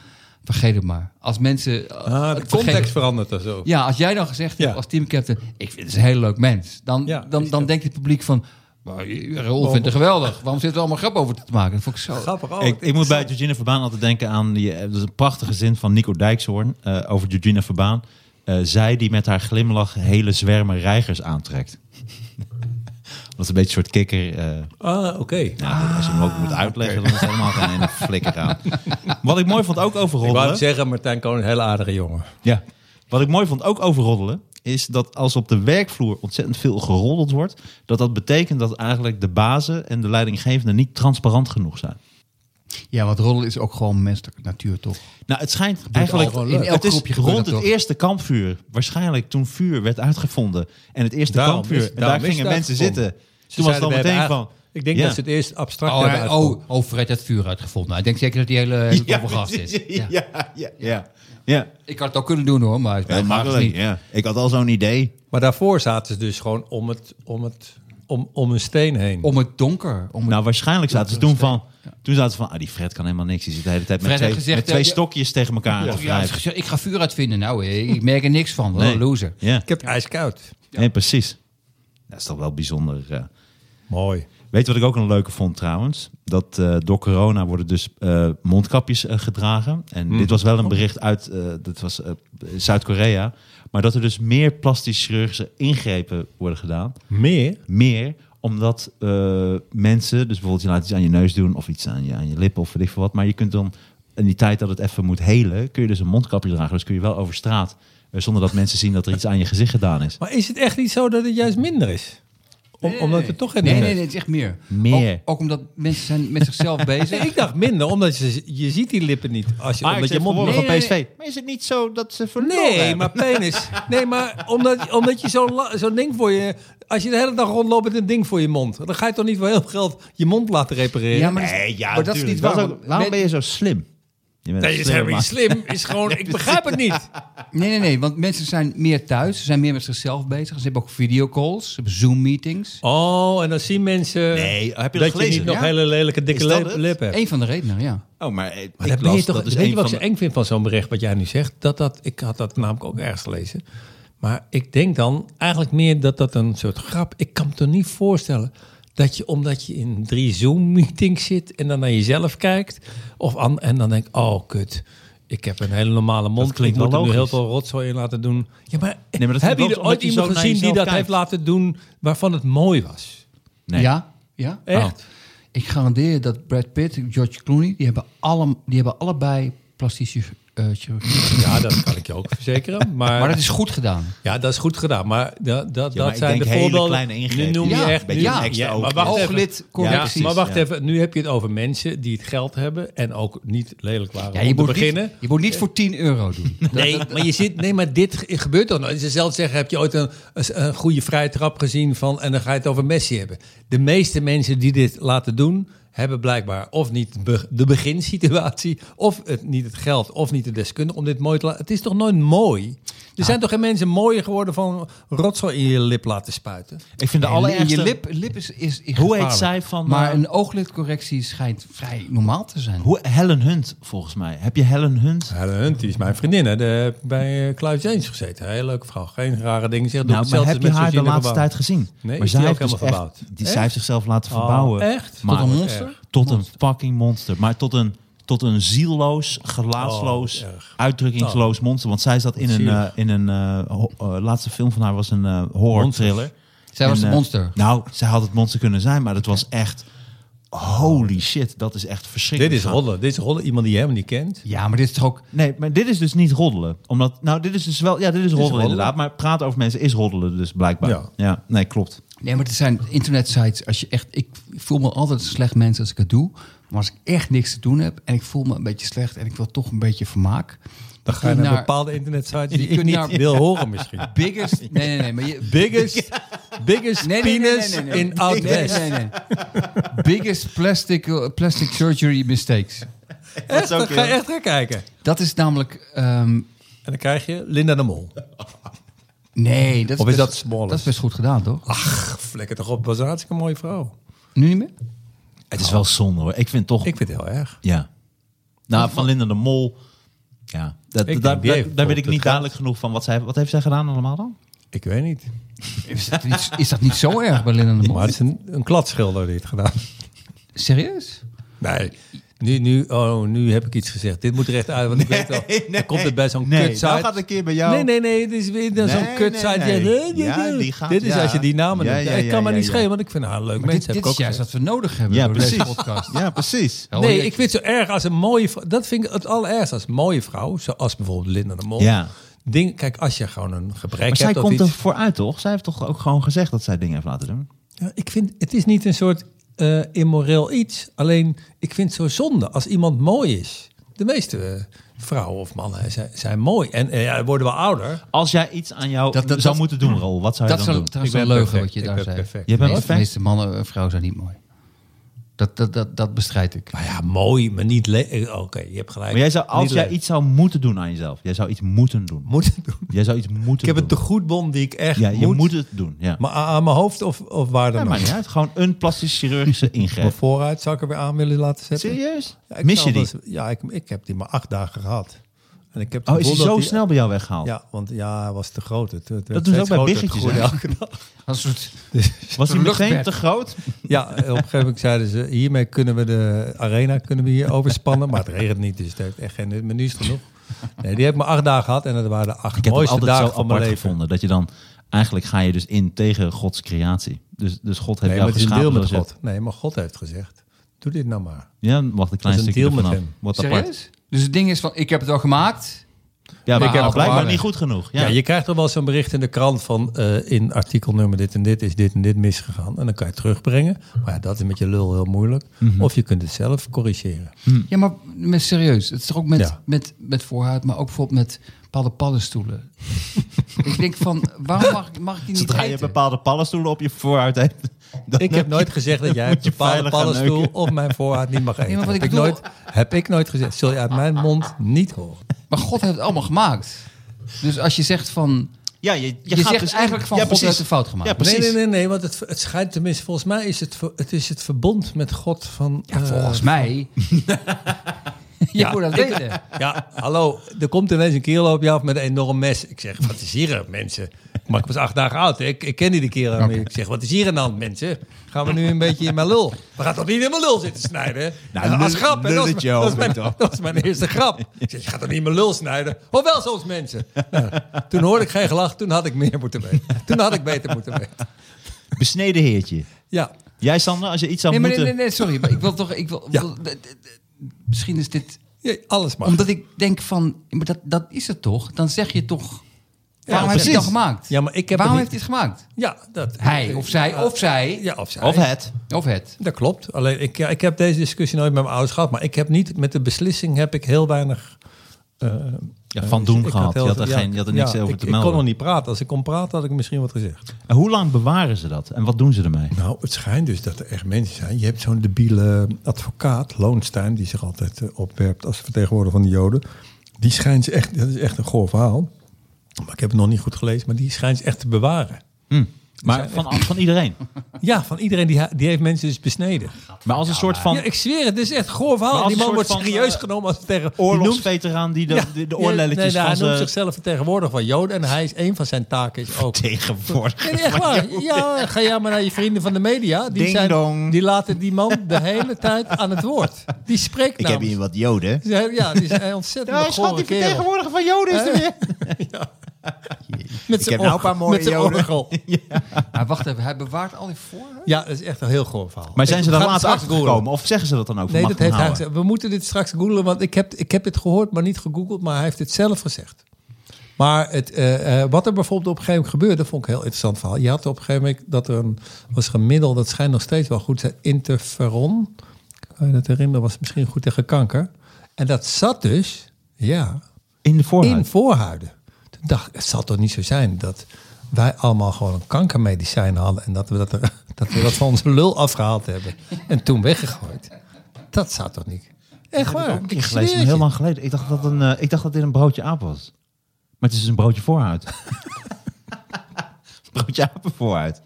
S4: vergeet het maar. Als mensen.
S3: Ah, de
S4: vergeet-
S3: context verandert er zo.
S4: Ja, als jij dan gezegd hebt
S3: Ja.
S4: als teamcaptain, ik vind het een heel leuk mens, dan,
S3: Ja,
S4: dan,
S3: is
S4: dan
S3: dat.
S4: denkt het publiek van. "Maar, Raoul vindt het geweldig. Waarom zit er allemaal grap over te maken? Dat vond ik zo.
S3: Grappig ook.
S2: ik, ik moet bij Georgina Verbaan altijd denken aan die, eh, dat is een prachtige zin van Nico Dijkshoorn eh, over Georgina Verbaan. Eh, zij die met haar glimlach hele zwermen reigers aantrekt. Dat is een beetje een soort kikker. eh,
S3: Ah, oké.
S2: nou, als je hem ook moet uitleggen, dan is het helemaal geen ene flikker aan. Wat ik mooi vond ook over
S3: Ik wou
S2: roddelen.
S3: zeggen, Martijn Koning, een hele aardige jongen.
S2: Ja. Wat ik mooi vond ook over roddelen, is dat als op de werkvloer ontzettend veel geroddeld wordt, dat dat betekent dat eigenlijk de bazen en de leidinggevenden niet transparant genoeg zijn.
S4: Ja, want roddelen is ook gewoon menselijke natuur, toch?
S2: Nou, het schijnt eigenlijk
S4: al- in elk
S2: het is
S4: groepje gebeurt
S2: rond
S4: dat
S2: het
S4: toch?
S2: eerste kampvuur. Waarschijnlijk toen vuur werd uitgevonden en het eerste
S3: Daarom
S2: kampvuur
S3: is-
S2: en
S3: daarom
S2: daar
S3: is
S2: gingen
S3: het
S2: mensen
S3: uitgevonden.
S2: zitten.
S3: Ze
S2: toen was het
S3: zeiden,
S2: al
S3: we
S2: meteen
S3: hebben
S2: van.
S3: eigenlijk- Ik denk
S2: ja.
S3: dat ze het eerst abstract
S4: Oh,
S3: hebben
S4: hij-
S3: uitgevonden.
S4: oh, oh, Fred heeft vuur uitgevonden. Hij denkt zeker dat hij hele, hele
S2: ja,
S4: toffe gast is.
S2: ja,
S4: Ja.
S2: ja, ja, ja. ja.
S4: Ik had het ook kunnen doen hoor, maar hij is
S2: Heel
S4: mij graag
S2: makkelijk.
S4: niet.
S2: Ja. Ik had al zo'n idee.
S3: Maar daarvoor zaten ze dus gewoon om, het, om, het, om, om een steen heen.
S4: Om het donker. Om het...
S2: Nou, waarschijnlijk zaten ze toen van. Toen zaten ze van, ah, die Fred kan helemaal niks. Die zit de hele tijd met
S4: Fred
S2: twee,
S4: heeft gezegd,
S2: met twee
S4: eh, ja.
S2: stokjes tegen elkaar aan te
S4: Oh, ja, hij heeft
S2: wrijven.
S4: gezegd, ik ga vuur uitvinden. Nou, hé, ik merk er niks van. Wat een
S2: Nee.
S4: loser.
S2: Ja,
S3: Ik heb het ijskoud.
S2: Nee, precies. Dat is toch wel bijzonder. eh.
S3: Mooi.
S2: Weet je wat ik ook een leuke vond trouwens? Dat eh, door corona worden dus eh, mondkapjes eh, gedragen. En dit was wel een bericht uit eh, dit was, eh, Zuid-Korea. Maar dat er dus meer plastisch chirurgische ingrepen worden gedaan.
S3: Meer?
S2: Meer omdat eh, mensen, dus bijvoorbeeld je laat iets aan je neus doen of iets aan je, aan je lippen of weet ik veel wat. Maar je kunt dan in die tijd dat het even moet helen, kun je dus een mondkapje dragen. Dus kun je wel over straat eh, zonder dat mensen zien dat er iets aan je gezicht gedaan is.
S3: Maar is het echt niet zo dat het juist minder is? Om- Omdat het toch geen
S4: Nee, nee,
S3: minder
S4: nee,
S3: is?
S4: het is echt meer.
S2: Meer.
S4: Ook, ook omdat mensen zijn met zichzelf bezig.
S3: Nee, ik dacht minder, omdat je, je ziet die lippen niet. Als je, omdat je mond
S2: verloren
S3: Nee,
S2: van
S3: nee,
S2: PSV. Maar is het niet zo dat ze verloren
S3: Nee,
S2: hebben?
S3: maar penis. Nee, maar omdat, omdat je zo'n la- zo'n ding voor je... Als je de hele dag rondloopt met een ding voor je mond... dan ga je toch niet voor heel veel geld je mond laten repareren?
S4: Ja, maar,
S2: Nee, ja,
S4: maar dat is niet
S2: tuurlijk. Dat
S4: waar.
S2: is ook-
S4: want
S2: waarom
S4: men-
S2: ben je zo slim? Je bent
S3: Nee,
S2: een
S3: is
S2: slimme
S3: helemaal niet
S2: man.
S3: slim. Is gewoon, ik begrijp het niet.
S4: Nee, nee, nee. Want mensen zijn meer thuis. Ze zijn meer met zichzelf bezig. Ze hebben ook videocalls. Ze hebben Zoom-meetings.
S3: Oh, en dan zien mensen
S2: Nee, heb je dat
S3: dat, je
S2: gelezen?
S3: niet nog
S4: Ja.
S3: hele lelijke dikke
S2: Is dat
S3: lip-
S2: het?
S3: lippen hebt.
S4: Eén van de redenen, ja.
S2: Oh, maar, eh,
S3: Maar
S2: ik
S3: dat ben je
S2: las
S3: toch,
S2: dat is
S3: weet
S2: een
S3: je wat ik
S2: van
S3: zo
S2: de-
S3: eng vind van zo'n bericht wat jij nu zegt? Dat dat, ik had dat namelijk ook ergens gelezen. Maar ik denk dan eigenlijk meer dat dat een soort grap... Ik kan me toch niet voorstellen dat je, omdat je in drie Zoom-meetings zit... en dan naar jezelf kijkt of aan, en dan denk oh kut... Ik heb een hele normale mond.
S2: klinkt
S3: ik moet
S2: wel
S3: er nu heel
S2: logisch.
S3: veel rotzooi in laten doen. Ja, maar,
S2: maar dat
S3: heb
S2: vind ik logisch,
S3: je er ooit
S2: omdat je zo
S3: iemand
S2: naar
S3: gezien die
S2: jezelf
S3: dat
S2: kijkt.
S3: heeft laten doen waarvan het mooi was?
S2: Nee.
S4: Ja? Ja?
S3: Echt?
S4: Oh. Ik garandeer je dat Brad Pitt en George Clooney... die hebben, alle, die hebben allebei plastische eh, chirurgie.
S3: Ja, dat kan ik je ook verzekeren. Maar,
S4: Maar dat is goed gedaan.
S3: ja, dat is goed gedaan. Maar dat, dat,
S2: maar
S3: dat
S2: ik
S3: zijn
S2: denk
S3: de
S2: hele
S3: voorbeelden.
S2: kleine ingrepen.
S3: Nu noem je
S4: Ja,
S3: echt
S2: beetje
S3: nu-
S4: een
S2: extra
S3: ja, maar
S2: oogje.
S3: wacht even.
S4: Ooglid,
S3: Ja,
S4: correcties.
S3: maar wacht
S2: ja.
S3: even. Nu heb je het over mensen die het geld hebben en ook niet lelijk waren
S4: Ja,
S3: om
S4: je,
S3: te
S4: moet
S3: beginnen.
S4: niet, je moet niet voor 10 euro doen.
S3: Nee, maar je zit, nee, maar dit ge- gebeurt toch nooit. Ze zelf zeggen, heb je ooit een, een, een goede vrije trap gezien van... en dan ga je het over Messi hebben. De meeste mensen die dit laten doen... hebben blijkbaar of niet be- de beginsituatie... of het, niet het geld, of niet de deskundige om dit mooi te laten... Het is toch nooit mooi? Er zijn toch geen mensen mooier geworden van rotzooi in je lip laten spuiten?
S2: Ik vind de
S4: Nee,
S2: allereerste...
S4: Je lip, lip is, is, is
S2: Hoe heet
S4: gevaarlijk.
S2: zij van,
S4: Maar
S2: eh,
S4: een ooglidcorrectie schijnt vrij normaal te zijn.
S2: Hoe, Helen Hunt, volgens mij. Heb je Helen Hunt? Nou,
S3: Ja, Hunt, die is mijn vriendin. Hè. De, bij eh, Kluis Eens gezeten. Heel leuke vrouw. Geen rare dingen. Zeg, doe
S2: nou, maar
S3: hetzelfde
S2: heb je
S3: als met
S2: haar de
S3: Georgina
S2: laatste
S3: Verbouw.
S2: tijd gezien?
S3: Nee,
S2: maar
S3: is die
S2: zij
S3: ook
S2: heeft, dus
S3: helemaal
S2: echt-
S3: verbouwd?
S2: die,
S3: Echt? Oh,
S2: zij heeft zichzelf laten verbouwen.
S3: echt?
S2: Maar-
S4: Tot een monster?
S2: Tot een fucking monster. Maar tot een, tot een zielloos, gelaatsloos,
S3: Oh, erg. Oh.
S2: uitdrukkingsloos monster. Want zij zat in een, eh,
S3: zielig.
S2: in een eh, ho- eh, laatste film van haar was een eh, horror
S3: Monsters.
S2: thriller.
S4: Zij was
S2: En,
S4: het
S2: eh,
S4: monster.
S2: Nou, zij had het monster kunnen zijn, maar dat was echt. Holy shit, dat is echt
S3: Dit
S2: verschrikkelijk.
S3: is rollen. Dit is rollen. Iemand die je helemaal niet kent.
S4: Ja, maar dit is toch ook...
S2: Nee, maar dit is dus niet roddelen. Omdat, nou, dit is dus wel, ja, dit is roddelen,
S3: roddelen.
S2: inderdaad. Maar praten over mensen is roddelen dus blijkbaar.
S3: Ja.
S2: Ja, nee, klopt.
S4: Nee, maar het zijn internetsites. Als je echt, ik voel me altijd een slecht mens als ik het doe. Maar als ik echt niks te doen heb en ik voel me een beetje slecht... en ik wil toch een beetje vermaak...
S3: Dan ga je
S4: kun
S3: naar,
S4: je
S3: bepaalde internetsites die
S4: Je
S3: ik
S4: kunt
S3: niet
S4: naar-
S3: wil horen misschien.
S4: Biggest... Nee, nee, nee. Maar je,
S3: Biggest, biggest
S4: Nee, nee, nee,
S3: penis
S4: nee, nee, nee.
S3: in Out
S4: Nee,
S3: West.
S4: nee, nee. Biggest plastic, plastic surgery mistakes.
S3: Echt,
S2: ook
S3: dan ga je
S2: heel-
S3: echt naar kijken.
S4: Dat is namelijk... ehm,
S3: En dan krijg je Linda de Mol.
S4: nee, dat is,
S3: Of is
S4: best-
S3: dat Smollens?
S4: Dat is best goed gedaan, toch?
S3: Ach, flikker toch op. Was een hartstikke mooie vrouw.
S4: Nu niet meer?
S2: Het is wel zonde hoor. Nou. Ik vind toch...
S3: Ik vind het heel erg.
S2: Ja. Nou, van Linda de Mol... Ja, dat,
S3: denk,
S2: daar,
S3: die heeft
S2: daar, daar weet ik
S3: het
S2: niet
S3: geld.
S2: duidelijk genoeg van. Wat, zij, wat heeft zij gedaan allemaal dan?
S3: Ik weet niet.
S4: Is dat niet, is dat niet zo erg bij Linda de Mol?
S3: Maar het is een, een kladschilder die het gedaan.
S4: Serieus?
S3: Nee. Nu, nu, oh, nu heb ik iets gezegd. Dit moet er echt uit, want ik weet wel. Dan komt het bij zo'n
S2: Nee,
S3: kutsite.
S2: nou gaat een keer bij jou-
S3: Nee, nee, nee. Het is weer
S2: Nee,
S3: zo'n
S2: nee,
S3: kutsite.
S2: nee.
S3: Ja, eh,
S2: Ja,
S3: eh,
S2: die gaat-
S3: dit is
S2: ja.
S3: als je die namen
S2: Ja,
S3: noemt.
S2: ja,
S3: ik
S2: ja,
S3: kan maar
S2: ja,
S3: niet
S2: ja.
S3: schelen, want ik vind haar een leuk
S4: Maar
S3: mens.
S4: dit,
S3: heb
S4: dit
S3: ik
S4: is
S3: ook
S4: juist
S3: gezegd.
S4: wat we nodig hebben
S2: Ja,
S4: voor deze
S2: precies.
S4: podcast.
S2: Ja, precies.
S4: Hoor
S3: Nee,
S4: je-
S3: ik vind het zo erg als een mooie vrou- Dat vind ik het allerergste. Als een mooie vrouw, zoals bijvoorbeeld Linda de Mol.
S2: Ja.
S3: Ding, kijk, als je gewoon een gebrek
S2: Maar zij
S3: hebt of
S2: komt
S3: iets.
S2: er vooruit, toch? Zij heeft toch ook gewoon gezegd dat zij dingen heeft laten doen?
S3: Ja, ik vind, het is niet een soort eh, immoreel iets. Alleen, ik vind het zo zonde als iemand mooi is. De meeste eh, vrouwen of mannen zijn, zijn mooi. En eh, ja, worden we ouder.
S2: Als jij iets aan jou
S4: Dat- dat-
S2: zou
S4: dat-
S2: moeten doen, Rol, wat zou je
S4: Dat is
S2: dan
S4: wel,
S2: doen?
S4: dat is
S3: Ik
S4: wel
S3: ben
S4: leugen
S3: perfect.
S4: wat je
S3: Ik
S4: daar
S3: ben
S4: zei.
S3: perfect.
S2: Je
S4: De
S2: bent
S4: meeste,
S2: perfect?
S4: meeste mannen en vrouwen zijn niet mooi. Dat, dat, dat, dat bestrijd ik.
S3: Nou ja, mooi, maar niet... le- eh, Oké, je hebt gelijk.
S2: Maar jij zou, als
S3: Niet
S2: jij
S3: leuk.
S2: iets zou moeten doen aan jezelf, jij zou iets moeten doen.
S3: Moet doen.
S2: Jij zou iets
S3: Ik
S2: moeten
S3: heb
S2: doen.
S3: een tegoedbon die ik echt
S2: Ja, je
S3: moet.
S2: moet het doen. Ja.
S3: Maar aan aan mijn hoofd of, of waar dan
S2: Ja,
S3: ook.
S2: maakt niet uit. Gewoon een plastisch chirurgische
S3: Mijn
S2: ingreep.
S3: vooruit zou ik er weer aan willen laten zetten.
S2: Serieus?
S3: Ja, ik
S2: Mis je
S3: zou
S2: die?
S3: wel eens- ja, ik, ik heb die maar acht dagen gehad. En ik heb het
S2: Oh, is die
S3: gevoel
S2: zo
S3: dat die-
S2: snel bij jou weggehaald?
S3: Ja, want ja, hij was te groot. Het, het
S2: Dat doen ze ook bij biggetjes.
S3: biggetjes.
S2: hè?
S4: Als een soort
S2: Was die meteen
S4: luchtbed.
S2: te groot?
S3: Ja, op een gegeven moment zeiden ze, hiermee kunnen we de arena kunnen we hier overspannen. Maar het regent niet, dus het heeft echt geen menu is genoeg. Nee, die heb ik maar acht dagen gehad en dat waren de acht
S2: Ik heb het
S3: mooiste
S2: altijd
S3: dagen
S2: zo
S3: van mijn
S2: apart
S3: leven.
S2: gevonden. Dat je dan, eigenlijk ga je dus in tegen Gods creatie. Dus, dus God heeft
S3: Nee, maar
S2: jou
S3: het is een
S2: geschapen.
S3: deel met
S2: zoals je-
S3: God. Nee, maar God heeft gezegd, doe dit nou maar.
S2: Ja, wacht een klein
S3: Het is een
S2: stukje
S3: deel met
S2: ervan af.
S3: hem.
S2: Wordt apart.
S4: Serieus? Dus het ding is van, ik heb het al gemaakt.
S2: Ja, maar
S4: Ik heb
S2: ik
S4: het
S2: blijkbaar
S4: gehoord.
S2: niet goed genoeg.
S3: Ja.
S2: Ja,
S3: je krijgt er wel zo'n bericht in de krant van eh, in artikelnummer dit en dit is dit en dit misgegaan. En dan kan je het terugbrengen. Maar ja, dat is met je lul heel moeilijk. Of je kunt het zelf corrigeren.
S4: Ja, maar met serieus. Het is toch ook met,
S3: Ja.
S4: met, met voorhuid, maar ook bijvoorbeeld met bepaalde paddenstoelen. ik denk van, waarom mag, ik- mag ik die niet
S2: Zodra je
S4: eten?
S2: bepaalde paddenstoelen op je vooruit hebt. dan-
S3: Ik heb nooit gezegd dat jij een
S2: Moet je
S3: bepaalde
S2: veilig gaan
S3: paddenstoel
S2: neuken.
S3: of mijn voorraad niet mag eten.
S4: Nee, maar wat
S3: heb,
S4: ik
S3: ik
S4: bedoel-
S3: nooit, heb ik nooit gezegd. Zul je uit mijn mond niet horen.
S4: Maar God heeft het allemaal gemaakt. Dus als je zegt van,
S2: Ja, je, je,
S4: je,
S2: gaat
S4: zegt
S2: dus in-
S4: eigenlijk van,
S2: ja,
S4: God heeft
S2: precies.
S4: een fout gemaakt.
S2: Ja, precies.
S3: Nee, nee, nee, nee. Want het, het schijnt tenminste, volgens mij is het, ver- het, is het verbond met God van. eh,
S4: Ja, volgens mij. je moet dat weten.
S3: Ja, hallo. Er komt ineens een kerel op je af met een enorm mes. Ik zeg, wat is hier, mensen? Maar ik was acht dagen oud. hè. Ik, ik ken die de kerel. niet. Ik zeg, wat is hier aan de hand, mensen? Gaan we nu een beetje in mijn lul? We gaan toch niet in mijn lul zitten snijden?
S2: Nou,
S3: Nou, als
S2: lul-
S3: grap. hè. Dat is
S2: lulletje
S3: mijn- dat is
S2: over
S3: mijn-
S2: toch?
S3: dat is mijn eerste grap. Ik zeg, je gaat toch niet in mijn lul snijden? Of wel soms mensen. Nou, toen hoorde ik geen gelach. Toen had ik meer moeten weten. Toen had ik beter moeten weten.
S2: Besneden heertje.
S3: Ja.
S2: Jij, Sander, als je iets zou
S4: Nee, maar nee,
S2: moeten...
S4: nee, nee, sorry. Maar ik wil toch, ik wil, wil- d- d- d- misschien is dit,
S3: Ja, alles mag.
S4: omdat ik denk van, maar dat, dat is het toch? Dan zeg je toch, waarom heeft hij
S2: precies.
S4: dat gemaakt?
S3: Ja, maar ik heb
S4: waarom
S3: het
S4: heeft
S3: niet-
S4: hij het gemaakt?
S3: Ja, dat,
S4: Hij of zij, of zij,
S3: Ja, of zij.
S2: Of het.
S4: of het.
S3: Dat klopt. Alleen ik, ja, ik heb deze discussie nooit met mijn ouders gehad, maar ik heb niet met de beslissing heb ik heel weinig eh,
S2: Ja, van doen
S3: ik had
S2: gehad.
S3: heel
S2: Je had er,
S3: veel- ja,
S2: geen, je had er niks
S3: ja,
S2: over
S3: ik,
S2: te
S3: Ik kon
S2: melden.
S3: nog niet praten. Als ik kon praten, had ik misschien wat gezegd.
S2: En hoe lang bewaren ze dat? En wat doen ze ermee?
S3: Nou, het schijnt dus dat er echt mensen zijn. Je hebt zo'n debiele advocaat, Loonstein, die zich altijd eh, opwerpt als vertegenwoordiger van de Joden. Die schijnt ze echt, dat is echt een goor verhaal. Maar ik heb het nog niet goed gelezen, maar die schijnt ze echt te bewaren.
S2: Hm. Maar van, van iedereen.
S3: Ja, van iedereen die, ha- die heeft mensen dus besneden.
S2: Maar als een soort van
S3: Ja, ik zweer het, dit is echt een goor verhaal.
S2: Maar als
S3: Die
S2: een
S3: man
S2: soort
S3: wordt
S2: van,
S3: serieus
S2: eh,
S3: genomen als tegen
S2: oorlogsveteraan die de,
S3: Ja.
S2: de, de oorlelletjes
S3: nee, nee,
S2: van
S3: Hij noemt
S2: zijn
S3: zichzelf vertegenwoordiger van Joden en hij is een van zijn taken is ook.
S2: tegenwoordig.
S3: Nee, nee, echt waar. Ja, ga jij maar naar je vrienden van de media. Die,
S2: Ding dong.
S3: zijn, die laten die man de hele tijd aan het woord. Die
S2: Ik
S3: spreekt
S2: heb
S3: namens-
S2: hier wat joden.
S3: Ze hebben- Ja, die is een ontzettend ja, gore kerel.
S2: van joden is er weer.
S3: Met
S2: Ik heb nou een paar mooie
S3: met zijn
S2: Joden.
S3: orgel.
S4: Maar Ah, wacht even, hij bewaart al die voor.
S3: Ja, dat is echt een heel goor verhaal.
S2: Maar zijn ze daar
S3: Gaat
S2: later
S3: straks googlen.
S2: achtergekomen? Of zeggen ze dat dan ook?
S3: Nee,
S2: Mag
S3: dat
S2: ik hem
S3: heeft hij
S2: houden?
S3: gezegd. We moeten dit straks googlen, want ik heb, ik heb dit gehoord, maar niet gegoogeld. Maar hij heeft het zelf gezegd. Maar het, eh, eh, wat er bijvoorbeeld op een gegeven moment gebeurde, vond ik een heel interessant verhaal. Je had op een gegeven moment dat er een, was er een middel, dat schijnt nog steeds wel goed te zijn, interferon. Kan je dat herinneren? Was misschien goed tegen kanker. En dat zat dus, ja,
S2: In de voorhuid.
S3: in voorhuiden. Toen dacht ik, het zal toch niet zo zijn dat wij allemaal gewoon een kankermedicijn hadden en dat we dat, er- dat, we dat van onze lul afgehaald hebben en toen weggegooid. Dat zou toch niet? Echt waar?
S2: Ik heb
S3: ik
S2: gelezen, maar
S3: zweer het
S2: heel
S3: je.
S2: lang geleden. Ik dacht, dat een, eh, ik dacht dat dit een broodje aap was. Maar het is dus een broodje vooruit. broodje apen vooruit.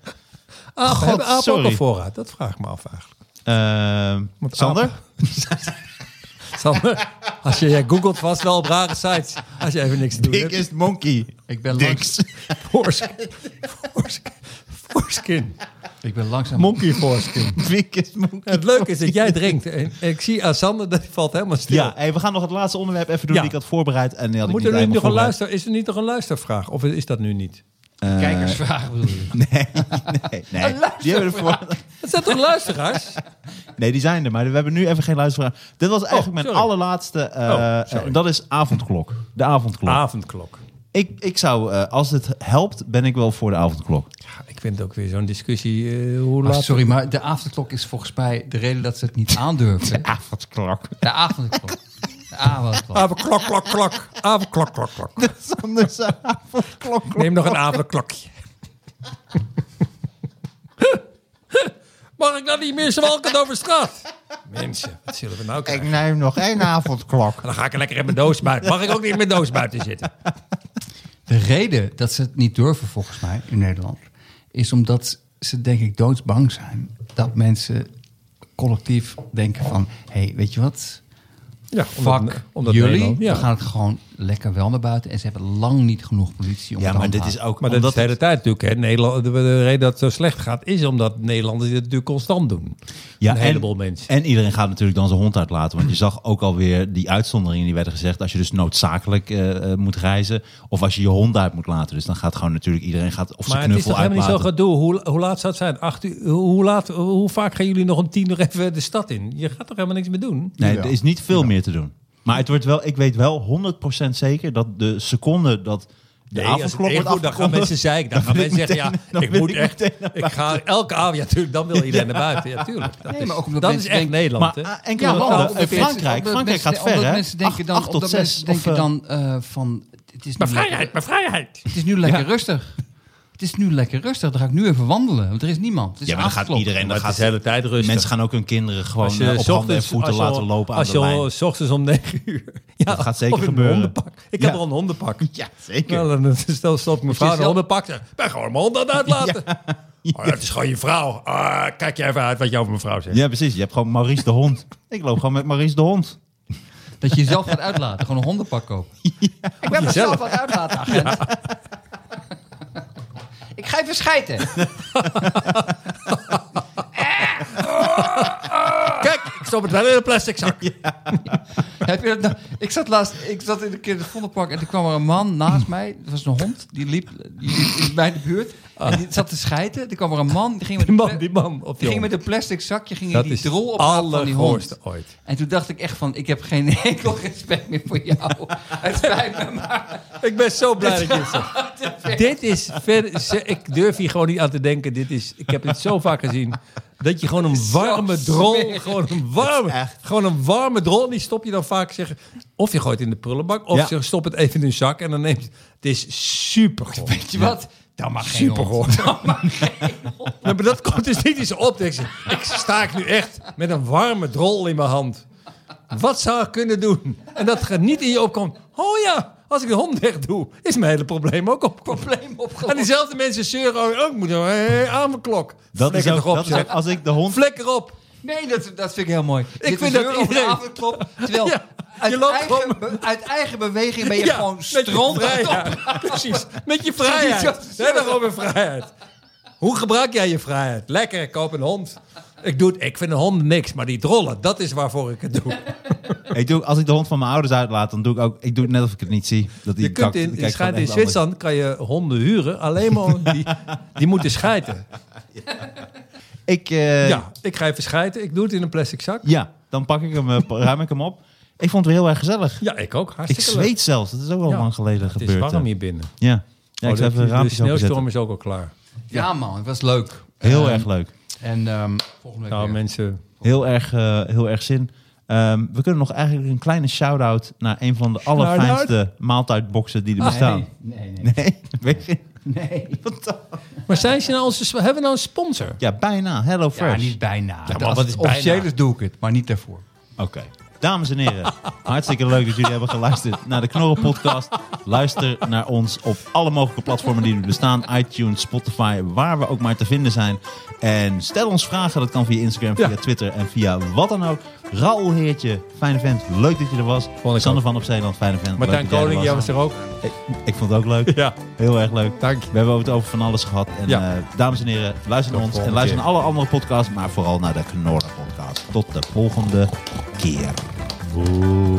S3: Ah,
S2: God,
S3: hebben apen ook
S2: sorry.
S3: Ah, een voorraad? Dat vraag ik me af eigenlijk.
S2: Eh,
S3: Want
S2: Sander?
S3: Sander, als je, jij googelt vast wel op rare sites. Als je even niks te doen hebt.
S2: Biggest monkey.
S4: Ik ben, langs,
S2: Dicks.
S3: Foreskin. Foreskin. Foreskin.
S4: ik ben langzaam...
S3: Monkey foreskin.
S2: Biggest monkey.
S3: Het leuke is dat jij drinkt. En ik zie aan Sander, dat valt helemaal stil.
S2: Ja, hey, we gaan nog het laatste onderwerp even doen
S3: Ja.
S2: die ik had voorbereid. En die had ik
S3: Moet
S2: niet
S3: er nu
S2: helemaal
S3: nog een
S2: voorbereid.
S3: luister, is er niet nog een luistervraag? Of is dat nu niet?
S4: Kijkersvraag bedoel je?
S2: Nee, nee. Die hebben we voor...
S3: Het zijn toch luisteraars?
S2: Nee, die zijn er, maar we hebben nu even geen luistervraag. Dit was eigenlijk mijn
S3: Oh, sorry.
S2: allerlaatste. eh,
S3: Oh,
S2: eh,
S3: sorry.
S2: dat is avondklok. De avondklok.
S3: Ah, Avondklok.
S2: ik, ik zou, eh, als het helpt, ben ik wel voor de avondklok.
S3: Ja, ik vind het ook weer zo'n discussie. eh, hoe
S4: Maar
S3: laat...
S4: Ah, sorry, maar de avondklok is volgens mij de reden dat ze het niet aandurven.
S2: Avondklok.
S4: De avondklok. De avondklok.
S3: Avondklok, klok, klok. Avondklok, klok, klok.
S2: Anders avondklok.
S3: Neem nog een avondklokje. Mag ik dan niet meer zwalkend over straat? Mensen, wat zullen we nou krijgen?
S2: neem nog één avondklok.
S3: Dan ga ik lekker in mijn doos buiten. Mag ik ook niet in mijn doos buiten zitten?
S4: De reden dat ze het niet durven, volgens mij, in Nederland, is omdat ze, denk ik, doodsbang zijn dat mensen collectief denken van, hé, hey, weet je wat?
S3: Ja,
S4: Fuck jullie, we gaan het gewoon lekker wel naar buiten. En ze hebben lang niet genoeg politie om
S2: Ja,
S4: te
S2: maar dit is
S4: handhaven.
S2: ook
S3: Maar dat
S2: omdat
S3: is de hele tijd natuurlijk. Hè. Nederland, de, de reden dat het zo slecht gaat, is omdat Nederlanders dit natuurlijk constant doen.
S2: Ja,
S3: een heleboel mensen.
S2: En iedereen gaat natuurlijk dan zijn hond uitlaten. Want je zag ook alweer die uitzonderingen die werden gezegd. Als je dus noodzakelijk eh, eh, moet reizen. Of als je je hond uit moet laten. Dus dan gaat gewoon natuurlijk iedereen gaat of zijn
S3: Maar het is
S2: knuffel
S3: toch helemaal niet
S2: uitlaten.
S3: zo gedoe. Hoe, hoe laat zou het zijn? Acht uur, hoe, laat, hoe vaak gaan jullie nog om tien uur even de stad in? Je gaat toch helemaal niks meer doen?
S2: Nee, er is niet veel meer te doen. Maar het wordt wel, ik weet wel 100% zeker dat de seconde dat de
S3: Nee, als het
S2: avondklok
S3: echt
S2: wordt
S3: goed, dan gaan
S2: afgekondigd...
S3: mensen zeiken. Dan, gaan
S2: wil ik
S3: mensen zeggen,
S2: meteen-
S3: ja,
S2: dan
S3: ik
S2: wil
S3: moet
S2: ik
S3: echt...
S2: meteen
S3: Ik ga elke avond, ja, tuurlijk, dan wil iedereen naar buiten. Ja, tuurlijk. Dat,
S4: Nee,
S3: is,
S4: maar ook omdat
S3: dat is
S4: mensen
S3: echt
S4: denken-
S3: Nederland,
S2: maar
S3: hè?
S2: eh, enkele
S4: Ja, maar
S2: landen,
S4: omdat
S2: eh,
S4: mensen-
S2: Frankrijk,
S4: omdat
S2: Frankrijk
S4: mensen-
S2: gaat ver,
S4: omdat
S2: hè?
S4: mensen denken dan,
S2: Acht- acht tot
S4: omdat mensen
S2: zes. of,
S4: denken
S2: eh,
S4: dan eh, van, het is nu
S3: Maar
S4: lekker-
S3: vrijheid, maar vrijheid.
S4: Het is nu lekker rustig. Het is nu lekker rustig. Dan ga ik nu even wandelen. Want er is niemand. Het is
S2: Ja, maar dan gaat
S4: avondklok.
S2: iedereen... Dan
S3: Maar het
S2: gaat,
S3: is de hele tijd rustig.
S2: Mensen gaan ook hun kinderen gewoon
S3: Als je
S2: eh, op handen en
S3: ochtends-
S2: voeten
S3: als je al-
S2: laten lopen aan
S3: als
S2: de
S3: je al
S2: lijn.
S3: s ochtends om 9 uur. Ja,
S2: gaat zeker
S3: of in een
S2: gebeuren.
S3: hondenpak. Ik
S2: Ja.
S3: heb al een hondenpak.
S2: Ja, zeker.
S3: Nou, dan stel stopt mijn vrouw een
S4: zelf-
S3: hondenpak. Ik ben gewoon mijn hond aan het uitlaten. Oh, het is gewoon je vrouw. Ah, kijk je even uit wat je over mijn vrouw zegt.
S2: Ja, precies. Je hebt gewoon Maurice de hond. Ik loop gewoon met Maurice de hond.
S4: Dat je jezelf gaat uitlaten. Gewoon een hondenpak kopen. Ik ben mezelf aan het uitlaten, agent. Ik ga even schijten.
S3: Kijk, ik stop het wel in een plastic zak.
S4: Heb je dat nou- Ik zat laatst ik zat in een keer in het hondenpark en toen kwam er een man naast mij. Dat was een hond. Die liep, die liep in mijn buurt. En die zat te schijten. Toen kwam er een man. Die ging
S3: Ah. Die
S4: met een
S3: man,
S4: ple-
S3: die man. Of
S4: Die
S3: die
S4: ging met
S3: hond.
S4: een plastic zakje ging
S3: Dat
S4: die
S3: is
S4: drol ophalen van die hond.
S3: allergoorste ooit.
S4: En toen dacht ik echt van, ik heb geen enkel respect meer voor jou. Het spijt me, maar
S3: Ik ben zo blij dat je het zegt. Dit is ver, ze- ik durf hier gewoon niet aan te denken. Dit is, ik heb het zo vaak gezien. Dat je gewoon een
S4: zo
S3: warme drol,
S4: smerig.
S3: gewoon een warme,
S2: echt-
S3: gewoon een warme drol, die stop je dan vaak zeggen. Of je gooit in de prullenbak, of
S2: Ja.
S3: ze stop het even in hun zak en dan neemt. Het is super
S4: weet je wat? Dan mag geen
S3: Super
S4: hond.
S3: hoor. Ja, maar dat komt dus niet eens op. Ik, ik sta ik nu echt met een warme drol in mijn hand. Wat zou ik kunnen doen? En dat er niet in je opkomt. Oh ja, als ik de hond weg doe, is mijn hele probleem ook op.
S4: Probleem
S3: En
S4: opgelost.
S3: diezelfde mensen zeuren ook. Oh, ik moet nou, hey, aan mijn klok.
S2: Dat is
S3: Flikker
S2: ook,
S3: toch op,
S2: dat is
S3: zeg.
S2: ook- als ik de hond...
S3: Flikker op.
S4: Nee, dat, dat vind ik heel mooi. Ik
S3: vind dat iedereen-
S4: Terwijl
S3: Ja,
S4: uit,
S3: je loopt
S4: eigen,
S3: gewoon-
S4: be- uit eigen beweging ben je
S3: Ja,
S4: gewoon
S3: met je
S4: stront.
S3: vrijheid. Precies, met je
S4: Dat
S3: vrijheid.
S4: is
S3: We hebben over vrijheid. Hoe gebruik jij je vrijheid? Lekker, ik koop een hond. Ik, doe het, ik vind een hond niks, maar die drollen, dat is waarvoor ik het doe.
S2: Ik doe, als ik de hond van mijn ouders uitlaat, dan doe ik ook... Ik doe het net of ik het niet zie. Dat die
S3: Je kunt
S2: kak-
S3: in,
S2: kijkt
S3: schijnt
S2: gewoon echt
S3: in
S2: anders.
S3: Zwitserland kan je honden huren, alleen maar die, die moeten schijten.
S2: Ik, eh, ja.
S3: Ja, ik ga even schijten, ik doe het in een plastic zak.
S2: dan pak ik hem, eh, ruim ik hem op. Ik vond het weer heel erg gezellig.
S3: Ja, ik ook,
S2: Ik
S3: hartstikke leuk.
S2: zweet zelfs. Dat is ook al
S3: Ja,
S2: lang geleden
S3: Het
S2: gebeurd.
S3: is warm
S2: eh.
S3: hier binnen.
S2: Ja. ja, ik
S3: Oh,
S2: zou
S3: dat-
S2: even een
S3: de
S2: raampje
S3: sneeuwstorm is ook al klaar.
S4: Ja man, het was leuk.
S2: Heel
S4: Ehm,
S2: erg leuk.
S4: En ehm, volgende week
S3: Nou,
S4: weer.
S3: mensen,
S2: Heel erg, eh, heel erg zin. Ehm, we kunnen nog eigenlijk een kleine shout-out naar een van de allerfijnste maaltijdboxen die er bestaan.
S4: Nee, nee,
S2: Nee, weet je?
S4: nee.
S3: maar zijn ze nou onze, hebben we nou een sponsor?
S2: Ja, bijna. Hello
S4: Ja,
S2: Fresh.
S4: niet bijna.
S3: maar
S4: Als
S3: wat
S4: het
S3: is
S4: officieel
S3: bijna?
S4: is, doe ik het, maar niet daarvoor.
S2: Oké. Dames en heren, hartstikke leuk dat jullie hebben geluisterd naar de Knorren Podcast. Luister naar ons op alle mogelijke platformen die er bestaan. iTunes, Spotify, waar we ook maar te vinden zijn. En stel ons vragen. Dat kan via Instagram, via
S3: Ja.
S2: Twitter en via wat dan ook. Raoul Heertje, fijne vent. Leuk dat je er was.
S3: ik
S2: Sanne
S3: ook.
S2: van op Zeeland, fijne vent.
S3: Martijn
S2: leuk dat jij
S3: Koning, jij
S2: er was.
S3: was er ook.
S2: Ik, ik vond het ook leuk.
S3: Ja,
S2: Heel erg leuk.
S3: dank je.
S2: We hebben het over van alles gehad. En
S3: Ja.
S2: eh, dames en heren, luister naar ons.
S3: Tot de
S2: En
S3: volgende
S2: luister
S3: keer.
S2: naar alle andere podcasts. Maar vooral naar de Knorren podcast. Tot de volgende keer. Woe.